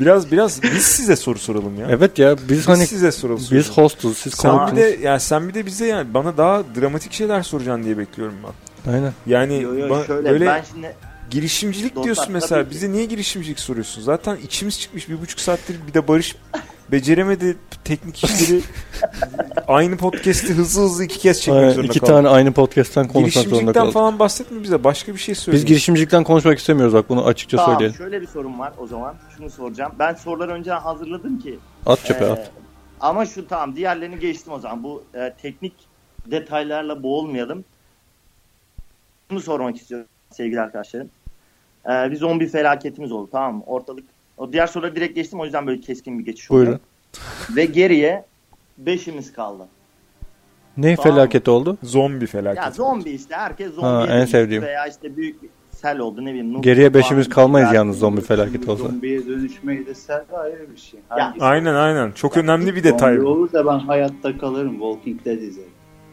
S2: Biraz biraz biz size soru soralım ya.
S3: Evet ya biz
S2: Biz
S3: hani
S2: size soru soralım.
S3: biz hostuz siz
S2: sen bir
S3: konuksunuz.
S2: de yani sen bir de bize yani bana daha dramatik şeyler soracaksın diye bekliyorum ben.
S3: Aynen.
S2: Yani
S1: Yo, yo,
S2: Ee, ba-
S1: şöyle
S2: böyle
S1: ben şimdi
S2: girişimcilik
S1: Dostlar,
S2: diyorsun
S1: tabii
S2: mesela.
S1: ki.
S2: Bize niye girişimcilik soruyorsun? Zaten içimiz çıkmış bir buçuk saattir bir de Barış beceremedi
S1: <laughs>
S2: teknik işleri. aynı podcast'i hızlı hızlı iki kez çekmek
S3: aynen.
S2: zorunda
S3: İki
S2: kaldık.
S3: tane aynı podcast'ten konuşmak zorunda
S2: Girişimcilikten
S3: kaldık.
S2: falan bahsetme bize. Başka bir şey söyle.
S3: Biz girişimcilikten konuşmak istemiyoruz bak bunu açıkça
S1: tamam
S3: söyleyelim.
S1: şöyle bir sorum var o zaman. Şunu soracağım. Ben soruları önceden hazırladım ki
S3: At çöpe
S1: Ee,
S3: at.
S1: Ama şu tamam diğerlerini geçtim o zaman. Bu e, teknik detaylarla boğulmayalım. Bunu sormak istiyorum sevgili arkadaşlarım. Ee, bir zombi felaketimiz oldu tamam mı? Ortalık o diğer soruları direkt geçtim o yüzden böyle keskin bir geçiş oldu.
S3: Buyurun.
S1: Ve geriye beşimiz kaldı.
S3: Ne
S1: Tamam.
S3: felaket oldu?
S2: Zombi felaket.
S1: Ya zombi işte herkes zombi.
S3: Ha, en
S1: yemiş
S3: sevdiğim.
S1: Veya işte büyük bir sel oldu ne bileyim. Nuh
S3: Geriye
S1: falan.
S3: beşimiz kalmayız yalnız zombi felaketi olsa.
S5: Zombiye dönüşmeyi de serve ayrı bir şey.
S1: Ya,
S5: Hangisi?
S2: Aynen aynen. Çok önemli bir detay.
S5: Zombi
S2: bu.
S5: olur da ben hayatta kalırım. Walking Dead izlerim.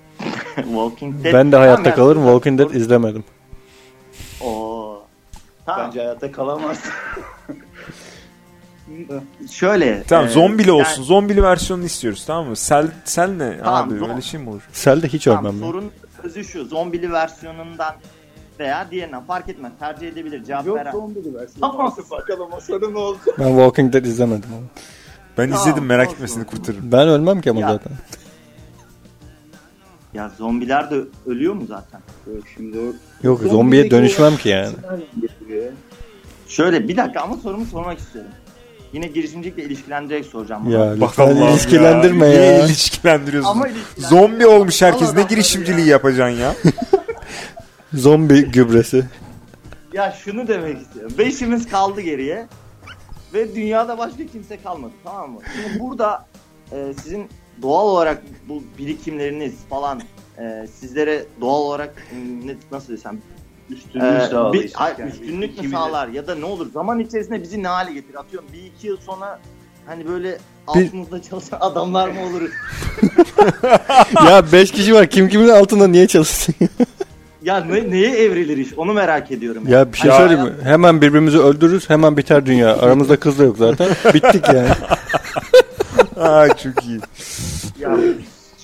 S1: <laughs> Walking Dead.
S3: Ben de hayatta
S1: Tamam,
S3: kalırım.
S1: yani-
S3: Walking Dead izlemedim.
S1: Oo. Tamam.
S5: Bence
S1: <laughs>
S5: hayatta kalamazsın.
S1: Şöyle.
S2: Tamam
S1: e,
S2: zombili
S1: yani-
S2: olsun. Zombili versiyonunu istiyoruz tamam mı? Sel sel ne
S1: Tamam,
S2: abi?
S1: zom-
S2: Öyle şey mi olur?
S3: Sel de hiç
S1: Tamam,
S3: ölmem. ben.
S1: sorun özü şu. Zombili versiyonundan veya diğerinden fark etmez. Tercih edebilir. Cevap
S5: Yok
S1: veren.
S5: zombi versin.
S1: Tamam.
S5: Bakalım o soru ne olacak?
S3: Ben Walking Dead izlemedim. ama.
S2: Ben
S1: Tamam,
S2: izledim merak
S1: olsun.
S2: etmesini kurtarırım.
S3: Ben ölmem ki ama
S1: Ya.
S3: zaten.
S1: Ya zombiler de ölüyor mu zaten?
S5: Yok şimdi o
S3: Yok
S5: Zombideki
S3: zombiye dönüşmem ki yani.
S5: Nereden geliyor?
S1: Şöyle bir dakika ama sorumu sormak istiyorum. Yine girişimcilikle ilişkilendirerek soracağım. bunu.
S3: Ya
S2: Bak
S3: lütfen
S2: Allah'ım ya.
S3: ilişkilendirme
S2: Niye
S3: ya.
S2: ilişkilendiriyorsun?
S1: Ama ilişkilendir-
S2: Zombi olmuş herkes. Ne
S1: Allah'ım
S2: girişimciliği yapacaksın ya?
S3: Zombi gübresi.
S1: Ya şunu demek istiyorum. Beşimiz kaldı geriye. Ve dünyada başka kimse kalmadı tamam mı? Şimdi burada e, sizin doğal olarak bu birikimleriniz falan e, sizlere doğal olarak m, ne- nasıl desem
S5: Üstünlük
S1: Ee,
S5: sağlayacak
S1: bir- ay,
S5: yani.
S1: üstünlük mü
S5: İkimiz de-
S1: sağlar ya da ne olur zaman içerisinde bizi ne hale getirir atıyorum bir iki yıl sonra hani böyle altımızda çalışan adamlar mı oluruz
S3: ya 5 kişi var. Kim kimin altında niye çalışsın? <laughs>
S1: ya ne, neye evrilir iş onu merak ediyorum yani.
S3: ya bir şey
S1: Hani
S3: söyleyeyim mi? Hemen birbirimizi öldürürüz. Hemen biter dünya. Aramızda kız da yok zaten. Bittik yani.
S2: Aa çok iyi.
S1: ya-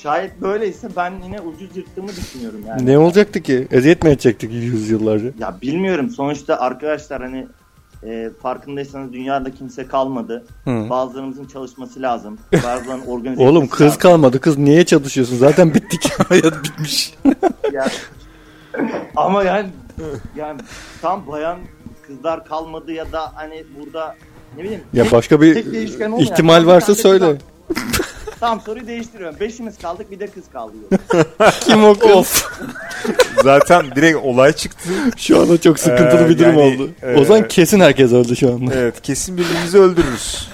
S1: şayet böyleyse ben yine ucuz yırttığımı düşünüyorum yani
S3: ne olacaktı ki? Eziyet mi edecektik yüzyıllarca?
S1: ya bilmiyorum sonuçta arkadaşlar hani e, farkındaysanız dünyada kimse kalmadı
S3: Hı.
S1: bazılarımızın çalışması
S3: <laughs>
S1: lazım bazılarının organize
S3: Oğlum
S1: etmesi
S3: kız
S1: lazım.
S3: kalmadı. Kız niye çalışıyorsun? Zaten bittik.
S4: Hayat bitmiş.
S1: Ya- Ama yani yani tam bayan kızlar kalmadı ya da hani burada ne bileyim.
S3: ya
S1: tek-
S3: başka bir
S1: tek değişken olmayan-
S3: ihtimal
S1: Bir
S3: varsa
S1: tane
S3: söyle.
S1: kız al- Tamam soruyu değiştiriyorum. Beşimiz kaldık bir de kız
S3: <laughs>
S1: kaldı. diyor.
S3: Kim o kız?
S2: Zaten direkt olay çıktı.
S3: şu anda çok sıkıntılı
S2: Ee,
S3: bir durum
S2: yani,
S3: oldu.
S2: e,
S3: Ozan kesin herkes öldü şu anda.
S2: Evet kesin birbirimizi öldürürüz.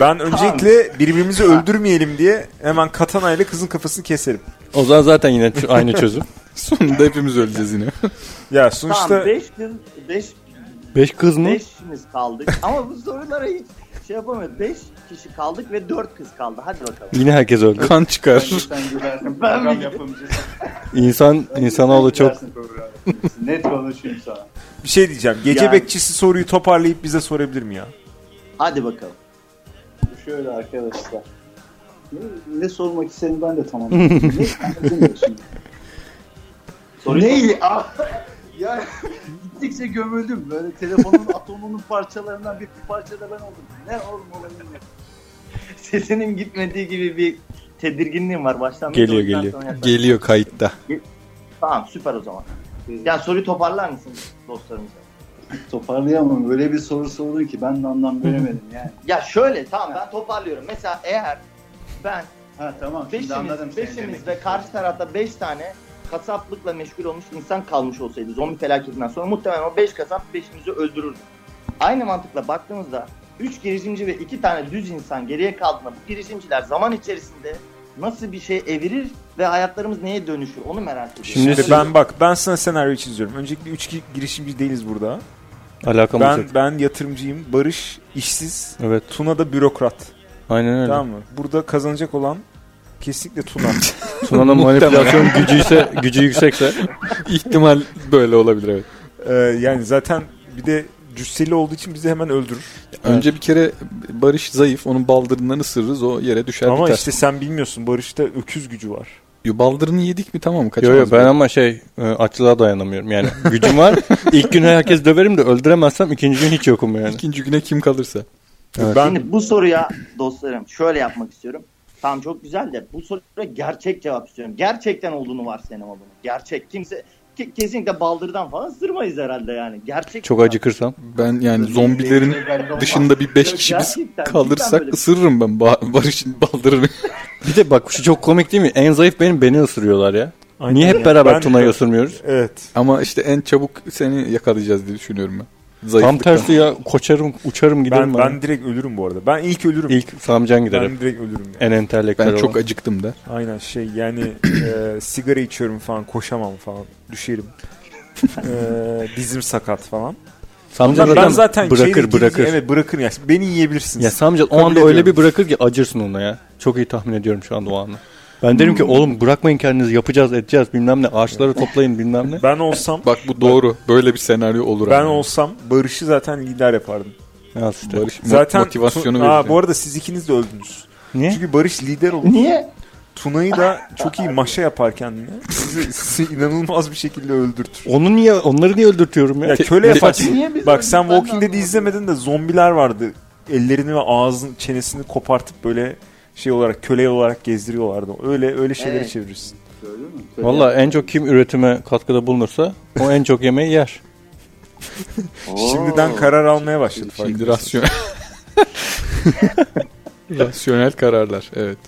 S2: Ben öncelikle birbirimizi öldürmeyelim diye hemen katanayla kızın kafasını keserim.
S3: O zaman zaten yine ç- aynı <laughs> çözüm.
S4: Sonunda hepimiz öleceğiz yine.
S2: Ya
S1: Tamam
S2: sonuçta
S1: 5 kız 5
S3: Beş kız mı?
S1: beşimiz kaldık ama bu sorulara hiç şey yapamıyoruz. 5 kişi kaldık ve 4 kız kaldı. Hadi bakalım.
S3: Yine herkes öldü.
S4: Kan çıkar.
S5: sen gülersin.
S1: Ben
S5: program
S1: mi-
S5: yapımcısı.
S3: İnsan, insanoğlu
S5: Sen
S3: çok...
S5: gülersin program yapımcısı. Net konuşayım sana.
S2: bir şey diyeceğim. Gece
S1: Yani-
S2: bekçisi soruyu toparlayıp bize sorabilir mi ya?
S1: Hadi bakalım. <laughs>
S5: Şöyle arkadaşlar. Ne, ne sormak istediğimi ben de tamamladım. ne anladın şimdi?
S1: Soruyu
S5: ne? Ah, ya gittikçe gömüldüm. Böyle <laughs> telefonun atomunun parçalarından bir parça da ben oldum. Ne oğlum olayım ne?
S1: Sesinin gitmediği gibi bir tedirginliğim var baştan. beri.
S3: Geliyor,
S1: O yüzden
S3: geliyor.
S1: sonra yaklaşık-
S4: Geliyor kayıtta.
S1: Tamam süper o zaman. Yani soruyu toparlar mısınız dostlarımıza?
S5: Toparlayamam. Böyle bir soru sordun ki ben de anlam veremedim yani.
S1: Ya şöyle tamam ben toparlıyorum. Mesela eğer ben
S5: Ha tamam şimdi anladım.
S1: beşimiz,
S5: seni demek
S1: beşimiz ve
S5: istediğini.
S1: karşı tarafta 5 tane kasaplıkla meşgul olmuş insan kalmış olsaydı zombi felaketinden sonra muhtemelen o 5 kasap 5'imizi öldürürdü. Aynı mantıkla baktığımızda 3 girişimci ve 2 tane düz insan geriye kaldığında bu girişimciler zaman içerisinde nasıl bir şey evirir ve hayatlarımız neye dönüşür onu merak ediyorum.
S3: Şimdi
S2: Şimdi ben bak ben sana senaryoyu çiziyorum. Öncelikle üç ki- girişimci değiliz burada.
S3: Alakam
S2: Ben
S3: olacak.
S2: ben yatırımcıyım. Barış işsiz.
S3: Evet.
S2: Tuna da bürokrat.
S3: Aynen öyle.
S2: Tamam mı? Burada kazanacak olan kesinlikle <laughs> Tuna.
S3: Tuna'nın manipülasyon gücü ise, gücü yüksekse
S4: İhtimal böyle olabilir evet.
S2: Ee, yani zaten bir de cüsseli olduğu için bizi hemen öldürür.
S4: Önce bir kere Barış zayıf. Onun baldırından ısırırız. O yere düşer
S2: Ama
S4: biter.
S2: işte sen bilmiyorsun. Barış'ta öküz gücü var.
S4: Yo, Baldırını yedik mi tamam
S3: Yo
S4: kaçamaz.
S3: yo ben ama şey e, açlığa dayanamıyorum yani gücüm <laughs> var. İlk gün herkes döverim de öldüremezsem ikinci gün hiç yokum yani.
S4: İkinci güne kim kalırsa.
S2: Ben
S1: Şimdi bu soruya dostlarım şöyle yapmak istiyorum. Tamam çok güzel de bu soruya gerçek cevap istiyorum. Gerçekten olduğunu varsayalım bunu. Gerçek. Kimse ke- kesinlikle baldırdan falan sırmayız herhalde yani. Gerçek.
S2: <laughs>
S3: Çok acıkırsam.
S4: Ben yani zombilerin dışında bir beş
S1: Yok,
S4: kişi biz
S1: gerçekten, cidden böyle.
S4: kalırsak ısırırım ben Ba- Barış'ın baldırını.
S3: Bir de bak şu çok komik değil mi? En zayıf benim beni ısırıyorlar ya.
S2: Aynen
S3: Niye
S2: ya.
S3: hep beraber
S2: Ben-
S3: Tuna'yı ısırmıyoruz?
S2: Evet.
S4: ama işte en çabuk seni yakalayacağız diye düşünüyorum ben.
S3: Tam
S4: Zayıflıktan.
S3: tersi ya koçarım uçarım giderim.
S2: Ben,
S3: Ben,
S2: ben direkt ölürüm bu arada. Ben ilk ölürüm.
S3: İlk Samcan giderim.
S2: ben direkt ölürüm. yani.
S3: En entelektüel
S4: Ben
S3: olan.
S4: çok acıktım da.
S2: Aynen şey yani
S3: <clears throat>
S2: e, sigara içiyorum falan koşamam falan düşerim. E, dizim sakat falan.
S3: Samcan
S2: ben
S3: zaten,
S2: zaten
S3: bırakır
S2: içeri
S3: bırakır.
S2: girince- Evet bırakır ya. Beni yiyebilirsiniz.
S3: Ya Samcan o
S2: Kabul
S3: anda öyle
S2: ediyorum.
S3: bir bırakır ki acırsın ona ya. Çok iyi tahmin ediyorum şu anda o anı. Ben derim ki oğlum bırakmayın kendinizi yapacağız edeceğiz bilmem ne ağaçları toplayın bilmem ne.
S2: ben olsam
S4: Bak bu doğru. Böyle bir senaryo olur.
S2: ben
S4: abi.
S2: olsam Barış'ı zaten lider yapardım.
S4: <laughs>
S3: Ya işte.
S4: Barış mo-
S2: Zaten
S4: motivasyonu
S2: Tun- Aa,
S4: verir.
S2: bu arada siz ikiniz de öldünüz.
S3: Niye?
S2: Çünkü Barış lider oldu.
S1: Niye?
S2: Tuna'yı da çok iyi maşa yapar kendine. Sizi, sizi inanılmaz bir şekilde öldürtür.
S3: Onu niye onları niye öldürtüyorum ya?
S2: Ya köle yaparsın.
S1: Niye biz
S2: Bak sen
S1: öldük? Ben de
S2: Walking Dead'i
S1: anlamadım.
S2: izlemedin de zombiler vardı. Ellerini ve ağzın çenesini kopartıp böyle şey olarak köle olarak gezdiriyorlardı. Öyle öyle şeyleri
S1: Evet.
S2: çevirirsin.
S5: Öyle mi? Böyle
S3: Valla en çok kim üretime katkıda bulunursa o en çok yemeği yer.
S1: Oo.
S2: <laughs> Şimdiden karar almaya başladı.
S4: Şimdi
S2: farkındasın.
S4: rasyon...
S3: <laughs>
S4: rasyonel kararlar. Evet.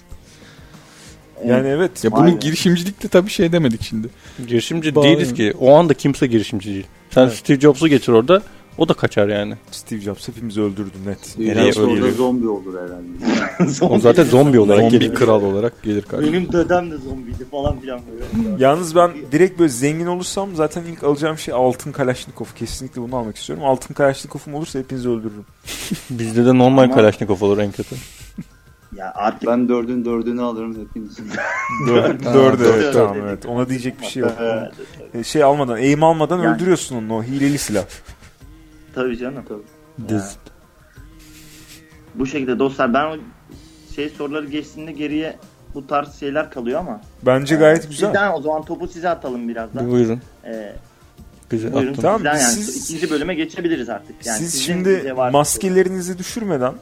S2: Yani evet.
S4: Ya
S1: Vay
S4: bunun
S1: be.
S4: girişimcilikte tabii şey demedik şimdi.
S3: Girişimci
S4: Bağlı.
S3: değiliz ki. O anda kimse girişimci değil. Sen Steve Jobs'u geçir orada o da kaçar yani.
S2: Steve Jobs hepimizi öldürdü net.
S5: Dünya
S3: Nereye
S5: sonunda
S3: ölüyor?
S5: zombi olur herhalde.
S3: O zaten zombi olarak
S4: Zombi
S3: gelir.
S4: kral olarak gelir karşıma.
S1: Benim dedem de zombiydi falan filan böyle.
S2: Yalnız ben direkt böyle zengin olursam zaten ilk alacağım şey altın kalaşnikov. Kesinlikle bunu almak istiyorum. Altın kalaşnikovum olursa hepinizi öldürürüm.
S3: Bizde de normal
S1: Ama-
S3: Kalashnikov olur en kötü.
S1: Ya artık
S5: Ben dördün dördünü alırım hepiniz. <laughs>
S2: Dördü dördü evet
S1: Dördü.
S2: tamam evet. Ona diyecek bir şey yok.
S1: Evet,
S2: Ee, Şey almadan, eğim almadan
S1: Yani.
S2: öldürüyorsun onu o hileli silah.
S1: tabii canım.
S3: Diz.
S1: Bu şekilde dostlar ben o şey soruları geçtiğinde geriye bu tarz şeyler kalıyor ama.
S2: Bence
S1: Ee,
S2: gayet güzel.
S1: Sizden o zaman topu size atalım birazdan.
S3: Buyurun.
S1: Ee,
S3: Bize
S1: buyurun
S3: attın.
S2: Tamam,
S1: sizden yani
S2: siz-
S1: ikinci bölüme geçebiliriz artık. Yani
S2: Siz
S1: sizin
S2: şimdi
S1: bize var-
S2: maskelerinizi düşürmeden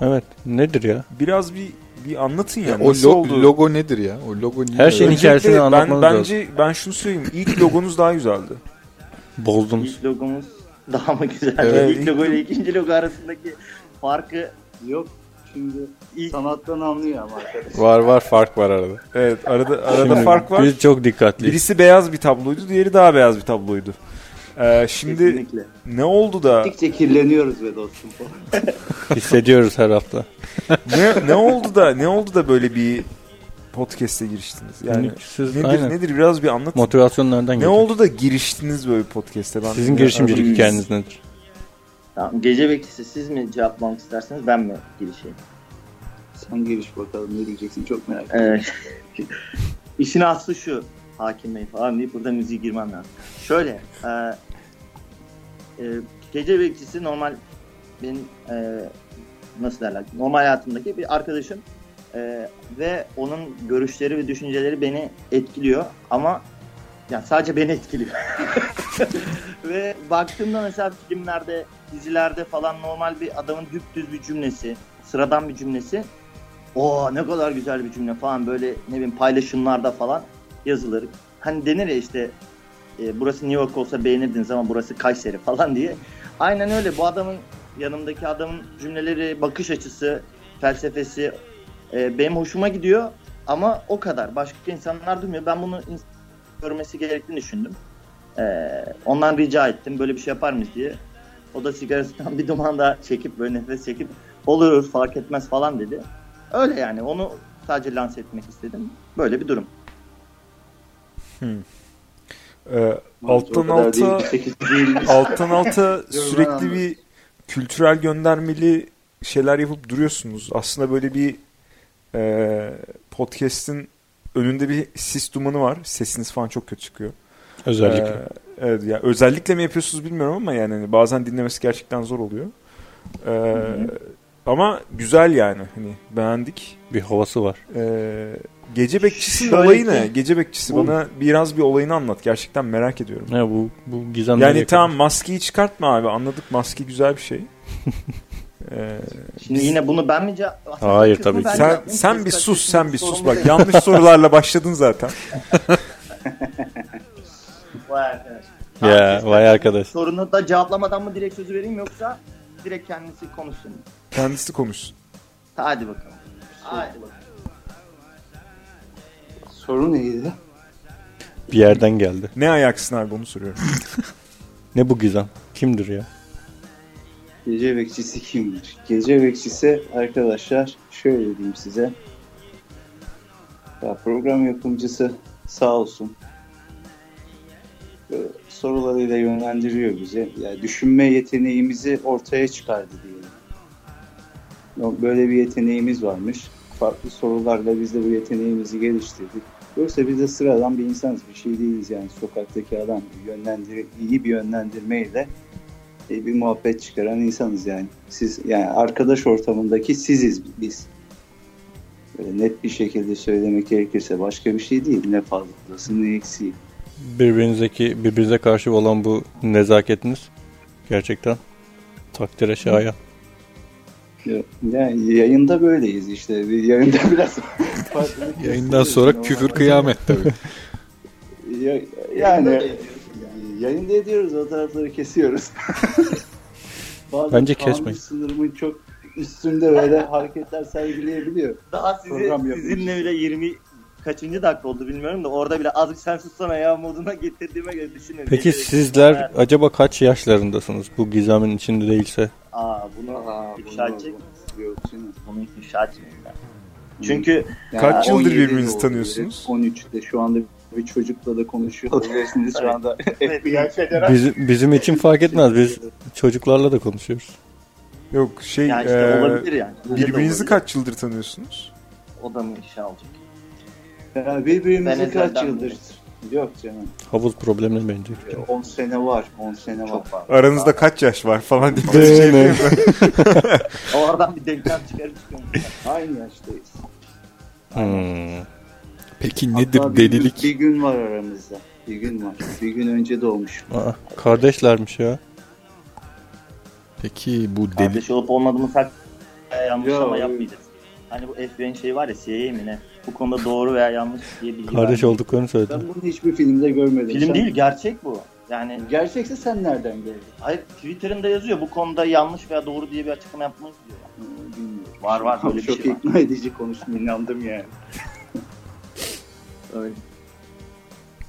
S3: Evet. Nedir ya?
S2: biraz bir bir anlatın yani.
S4: O
S2: nasıl
S4: lo-
S2: oldu?
S4: logo nedir ya? O logo niye?
S3: Her şeyin
S2: Öncelikle
S3: hikayesini
S2: ben,
S3: anlatmanız lazım.
S2: bence, Ben şunu söyleyeyim. İlk logonuz daha güzeldi.
S3: Bozdunuz.
S1: İlk logomuz daha mı güzel?
S2: Evet.
S1: İlk logo ile ikinci logo arasındaki farkı
S5: Yok şimdi
S1: ilk
S5: sanattan anlıyor ama arkadaş.
S4: Var var fark var arada.
S2: Evet arada arada
S3: Şimdi
S2: fark var.
S3: Biz çok dikkatliyiz.
S2: Birisi beyaz bir tabloydu, diğeri daha beyaz bir tabloydu. Ee, şimdi
S5: Kesinlikle.
S2: ne oldu da
S5: Gittikçe kirleniyoruz be dostum.
S3: Hissediyoruz her hafta.
S2: ne, ne oldu da ne oldu da böyle bir podcast'e giriştiniz? <laughs> Yani
S3: Hani Siz,
S2: nedir
S3: aynen.
S2: nedir biraz bir anlatın.
S3: Motivasyon nereden
S2: ne
S3: geliyor?
S2: oldu da giriştiniz böyle bir podcast'e? Ben
S3: Sizin
S2: ya-
S3: girişimcilik
S1: Biz-
S3: hikayeniz nedir?
S1: Tamam, gece bekçisi siz mi cevaplamak isterseniz ben mi girişeyim?
S5: Sen giriş bakalım ne diyeceksin çok merak ediyorum.
S1: Ee, <laughs> işin aslı şu hakim bey falan deyip burada müziği girmem lazım. Şöyle e, e, gece bekçisi normal benim e, nasıl derler normal hayatımdaki bir arkadaşım E, ve onun görüşleri ve düşünceleri beni etkiliyor ama yani sadece beni etkiliyor. <laughs> ve baktığımda mesela filmlerde, dizilerde falan normal bir adamın düptüz bir cümlesi, sıradan bir cümlesi o ne kadar güzel bir cümle falan böyle ne bileyim paylaşımlarda falan yazılır. Hani denir ya işte e, burası New York olsa beğenirdiniz ama burası Kayseri <laughs> falan diye. Aynen öyle bu adamın yanımdaki adamın cümleleri, bakış açısı, felsefesi e, benim hoşuma gidiyor ama o kadar. Başka insanlar duymuyor. Ben bunu ins- görmesi gerektiğini düşündüm. E, ondan rica ettim böyle bir şey yapar mıyız diye. O da sigarasından <laughs> bir duman daha çekip böyle nefes çekip olur fark etmez falan dedi. Öyle yani onu sadece lanse etmek istedim. Böyle bir durum.
S2: Ee,
S5: Maalesef
S2: alttan
S5: o kadar değil,
S2: alta
S5: 8 değil.
S2: <laughs> alttan alta sürekli
S5: anladım.
S2: bir kültürel göndermeli şeyler yapıp duruyorsunuz. Aslında böyle bir e, podcast'in önünde bir sis dumanı var. Sesiniz falan çok kötü çıkıyor.
S3: Özellikle.
S2: Ee, evet, ya özellikle mi yapıyorsunuz bilmiyorum ama yani hani bazen dinlemesi gerçekten zor oluyor. Ee, ama güzel yani hani beğendik.
S3: bir havası var.
S2: Ee, gece bekçisinin
S1: Şöyle
S2: olayı
S1: ki-
S2: ne? Gece bekçisi
S1: Oğlum.
S2: bana biraz bir olayını anlat. Gerçekten merak ediyorum.
S3: Ne bu bu gizemleri
S2: Yani
S3: yakaladı.
S2: tamam maskeyi çıkartma abi anladık maske güzel bir
S1: <laughs>
S2: şey. Ee,
S1: Şimdi yine bunu ben mi cevap...
S3: Hayır,
S1: Kısmı
S3: tabii ki.
S1: ben
S2: sen
S1: yapayım,
S2: sen
S1: siz
S2: bir sus
S1: kaçırsınız,
S2: sen bir
S1: sorun
S2: sus
S1: değil.
S2: bak yanlış
S1: <laughs>
S2: sorularla başladın zaten.
S1: Vay arkadaş.
S3: Ya vay arkadaş.
S1: Sorunu da cevaplamadan mı direkt sözü vereyim yoksa direkt kendisi konuşsun. mu?
S2: Kendisi konuşsun.
S1: Hadi bakalım. Hadi bakalım.
S5: Soru neydi?
S3: Bir yerden geldi.
S2: Ne ayaksın abi onu soruyorum.
S3: Ne bu gizem? Kimdir ya?
S5: Gece bekçisi kimdir? Gece bekçisi arkadaşlar şöyle diyeyim size. Ya program yapımcısı sağ olsun. Böyle sorularıyla yönlendiriyor bizi. Ya düşünme yeteneğimizi ortaya çıkardı diyelim. Yok, Böyle bir yeteneğimiz varmış. Farklı sorularla biz de bu yeteneğimizi geliştirdik. Yoksa biz de sıradan bir insanız. Bir şey değiliz yani sokaktaki adam. Yönlendir iyi bir yönlendirmeyle e, bir muhabbet çıkaran insanız yani. Siz yani arkadaş ortamındaki siziz biz. Böyle net bir şekilde söylemek gerekirse başka bir şey değil. Ne fazlası ne eksiği.
S3: Birbirinizdeki birbirinize karşı olan bu nezaketiniz gerçekten takdire şayan.
S5: Ya- Yani yayında böyleyiz işte. Bir yayında <laughs> biraz farklılık
S4: Yayından
S5: gösteriyoruz
S4: sonra
S5: ama-
S4: küfür kıyamet
S3: <laughs>
S4: tabii.
S5: Ya- yani yayında ediyoruz o tarafları kesiyoruz. <laughs> Bazen
S3: Bence
S5: kanun
S3: kesmeyin.
S5: sınırımın çok üstünde böyle hareketler sergileyebiliyor.
S1: Daha sizi,
S5: Program yapmış.
S1: sizinle bile 20 kaçıncı dakika oldu bilmiyorum da orada bile azıcık sen sussana ya moduna getirdiğime göre düşünün. şey
S3: Peki sizler acaba kaç yaşlarındasınız bu gizemin içinde değilse?
S1: Aa bunu
S5: Aa,
S1: ifşa edecek misin?
S5: Yok canım.
S1: Bunu ifşa etmeyeyim ben. Çünkü
S2: Kaç yıldır
S5: 17
S2: birbirinizi
S5: oldu.
S2: tanıyorsunuz?
S5: 13'te şu anda bir çocukla da konuşuyor olabilirsiniz şu anda. FBI federal.
S3: Biz, bizim için fark
S1: şey
S3: etmez. Biz çocuklarla da konuşuyoruz.
S2: Yok şey
S1: yani işte
S2: e,
S1: olabilir yani. Öyle de
S2: birbirinizi
S1: olabilir.
S2: kaç yıldır tanıyorsunuz?
S1: O da mı ifşa olacak?
S5: Ya
S1: Ben
S5: birbirimizi kaç
S1: ezelden
S5: yıldır?
S1: beri.
S5: Yok canım.
S3: Havuz problemine benziyor.
S5: 10 sene var. 10 sene var.
S1: Çok var.
S2: Aranızda kaç yaş var falan diye. şey
S1: <laughs> Oradan bir denklem çıkarıp çıkıyorum.
S5: Aynı yaştayız.
S3: Hmm.
S4: Peki
S5: Hatta
S4: nedir
S5: bir gün-
S4: delilik?
S5: Bir gün var aramızda. Bir gün var. Bir gün önce doğmuş.
S3: Aa, kardeşlermiş ya.
S4: Peki bu deli
S1: Kardeş olup olmadığımı sak e, yanlış
S5: Yo,
S1: ama
S5: öyle.
S1: yapmayacağız. Hani bu FBI'nin şeyi var ya CIA mi ne? Bu konuda doğru veya yanlış diye bilgi
S3: Kardeş
S1: vermiyor.
S3: olduklarını söyledi.
S5: Ben bunu hiçbir filmde görmedim.
S1: Film
S5: Sen-
S1: değil gerçek bu. Yani
S5: Gerçekse sen nereden gördün?
S1: hayır Twitter'ında yazıyor bu konuda yanlış veya doğru diye bir açıklama yapmanız diyor.
S5: Ee, Bilmiyorum.
S1: Var, var, böyle bir
S5: Çok
S1: şey var.
S5: ikna edici konuştum. inandım yani.
S1: Öyle.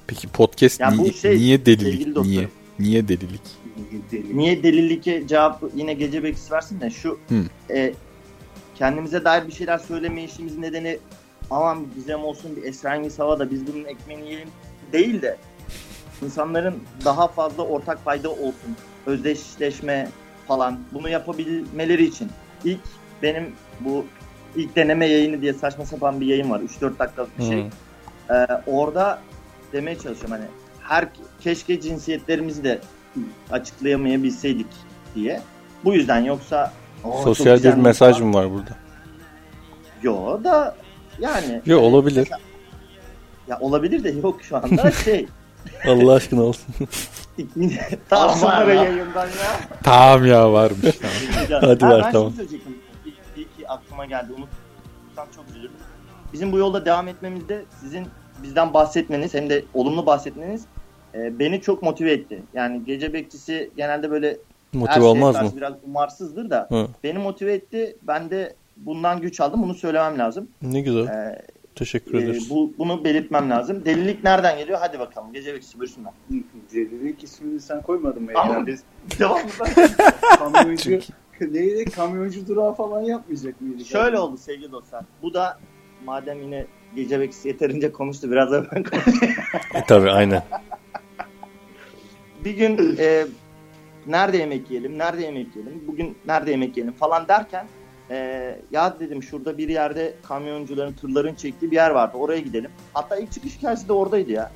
S4: Peki podcast
S1: Ya bu
S4: niye,
S1: şey,
S4: niye
S1: sevgili
S4: delilik?
S3: şey,
S1: dostlarım.
S4: Niye? Niye delilik?
S5: Deli.
S1: Niye delilike cevap yine gece bekçisi versin de şu
S4: Hı.
S1: e, kendimize dair bir şeyler söyleme işimizin nedeni aman bir gizem olsun bir esrengiz hava da biz bunun ekmeğini yiyelim değil de insanların daha fazla ortak fayda olsun özdeşleşme falan bunu yapabilmeleri için ilk benim bu ilk deneme yayını diye saçma sapan bir yayın var 3-4 dakikalık bir şey.
S3: Hı.
S1: Ee, orada demeye çalışıyorum hani her keşke cinsiyetlerimizi de açıklayamayabilseydik diye. Bu yüzden yoksa "Aa, çok
S3: Sosyal bir
S1: güzel
S3: mesaj
S1: var."
S3: mı var burada?
S1: Yo da yani <laughs>
S3: Yok olabilir.
S1: ya olabilir de yok şu
S3: <laughs>
S1: anda şey.
S3: Allah aşkına olsun.
S1: tamam
S5: Aman
S1: sonra
S5: ya.
S1: yayından ya.
S4: Tamam ya
S3: <laughs>
S4: varmış.
S1: Güzel.
S3: Hadi
S1: Ha,
S3: ver,
S1: ben
S3: tamam.
S1: şunu söyleyecektim. İyi- iyi ki aklıma geldi. Unutursam çok üzülürüm. Bizim bu yolda devam etmemizde sizin bizden bahsetmeniz hem de olumlu bahsetmeniz e, beni çok motive etti. Yani gece bekçisi genelde böyle her şey
S3: Motive
S1: şeye
S3: olmaz
S1: karşı
S3: mı?
S1: biraz umarsızdır da
S3: Hı.
S1: beni motive etti. Ben de bundan güç aldım. Bunu söylemem lazım.
S3: Ne güzel.
S1: Ee,
S3: Teşekkür
S1: e,
S3: ederiz.
S1: bu, bunu belirtmem lazım. Delilik nereden geliyor? Hadi bakalım. Gece bekçisi buyursunlar.
S5: Delilik ismini sen koymadın mı?
S1: Ama-
S5: Yani? Biz
S1: Devam
S5: <laughs> kamyoncu neydi? Kamyoncu durağı falan yapmayacak mıydık?
S1: Şöyle oldu sevgili dostlar. Bu da madem yine gece bekçisi yeterince konuştu. Biraz da ben
S3: E, tabii aynen.
S1: bir gün e, nerede yemek yiyelim, nerede yemek yiyelim, bugün nerede yemek yiyelim falan derken e, ya dedim şurada bir yerde kamyoncuların, tırların çektiği bir yer vardı. Oraya gidelim. Hatta ilk çıkış hikayesi de oradaydı ya.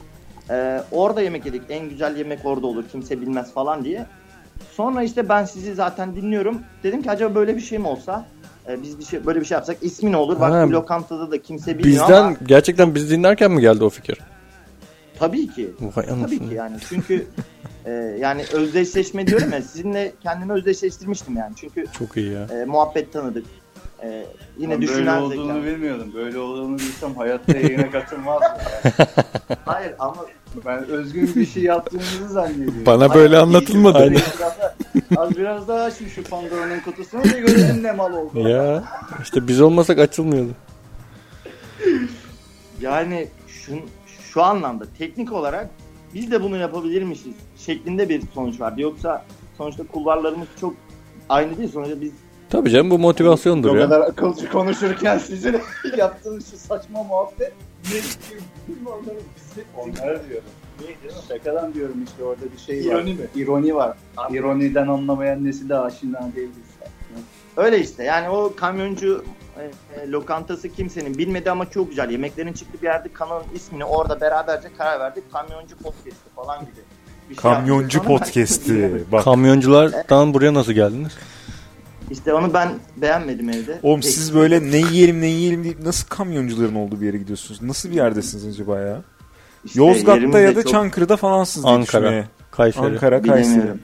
S1: E, orada yemek yedik. En güzel yemek orada olur. Kimse bilmez falan diye. Sonra işte ben sizi zaten dinliyorum. Dedim ki acaba böyle bir şey mi olsa? E, biz bir şey böyle bir şey yapsak ismi ne olur? Bak
S3: Ha,
S1: bir lokantada da kimse bilmiyor ama
S3: Bizden gerçekten biz dinlerken mi geldi o fikir?
S1: tabii ki
S3: Vay
S1: Tabii ki
S3: anasını.
S1: yani çünkü e, yani özdeşleşme diyorum ya sizinle kendimi özdeşleştirmiştim yani çünkü
S3: Çok iyi ya.
S1: e, muhabbet tanıdık. E, yine
S5: Yine böyle
S1: düşünen
S5: olduğunu
S1: zeka.
S5: bilmiyordum. Böyle olduğunu bilsem hayatta yayına <laughs> katılmazdım.
S1: Hayır ama
S5: Ben özgün bir şey yaptığımızı zannediyorum.
S4: Bana böyle anlatılmadı.
S5: Aynen. Biraz daha- Az biraz daha açın şu Pandora'nın kutusunu da görelim ne mal oldu.
S3: Ya işte biz olmasak açılmıyordu.
S1: yani şu, şu anlamda teknik olarak biz de bunu yapabilirmişiz şeklinde bir sonuç vardı. Yoksa sonuçta kulvarlarımız çok aynı değil sonuçta biz
S3: Tabii canım bu motivasyondur
S5: O
S3: ya.
S5: kadar akılcı konuşurken <laughs> sizin yaptığınız şu saçma muhabbet ne bileyim, onları bizi onlara diyorum. Şakadan diyorum işte orada bir şey var.
S1: İroni mi?
S5: İroni var. İroniden anlamayan nesi de aşina değiliz.
S1: Öyle işte yani o kamyoncu e, e, lokantası kimsenin bilmedi ama çok güzel. Yemeklerin çıktığı bir yerde kanalın ismini orada beraberce karar verdik. Kamyoncu podcast'i falan gibi. Bir şey
S2: Kamyoncu
S1: yaptık. Onu ben-
S2: podcast'i. Bak
S3: Kamyonculardan buraya nasıl geldiniz?
S1: <laughs> İşte onu ben beğenmedim evde. E,
S2: oğlum siz böyle ne yiyelim ne yiyelim deyip nasıl kamyoncuların olduğu bir yere gidiyorsunuz? Nasıl bir yerdesiniz acaba ya?
S1: İşte yerimiz
S2: Yozgat'ta
S1: de
S2: ya da
S1: çok-
S2: Çankırı'da falansınız diye
S3: Ankara.
S2: düşünmeye.
S3: Kayseri.
S2: Ankara, Kayseri.
S1: Bilemiyorum.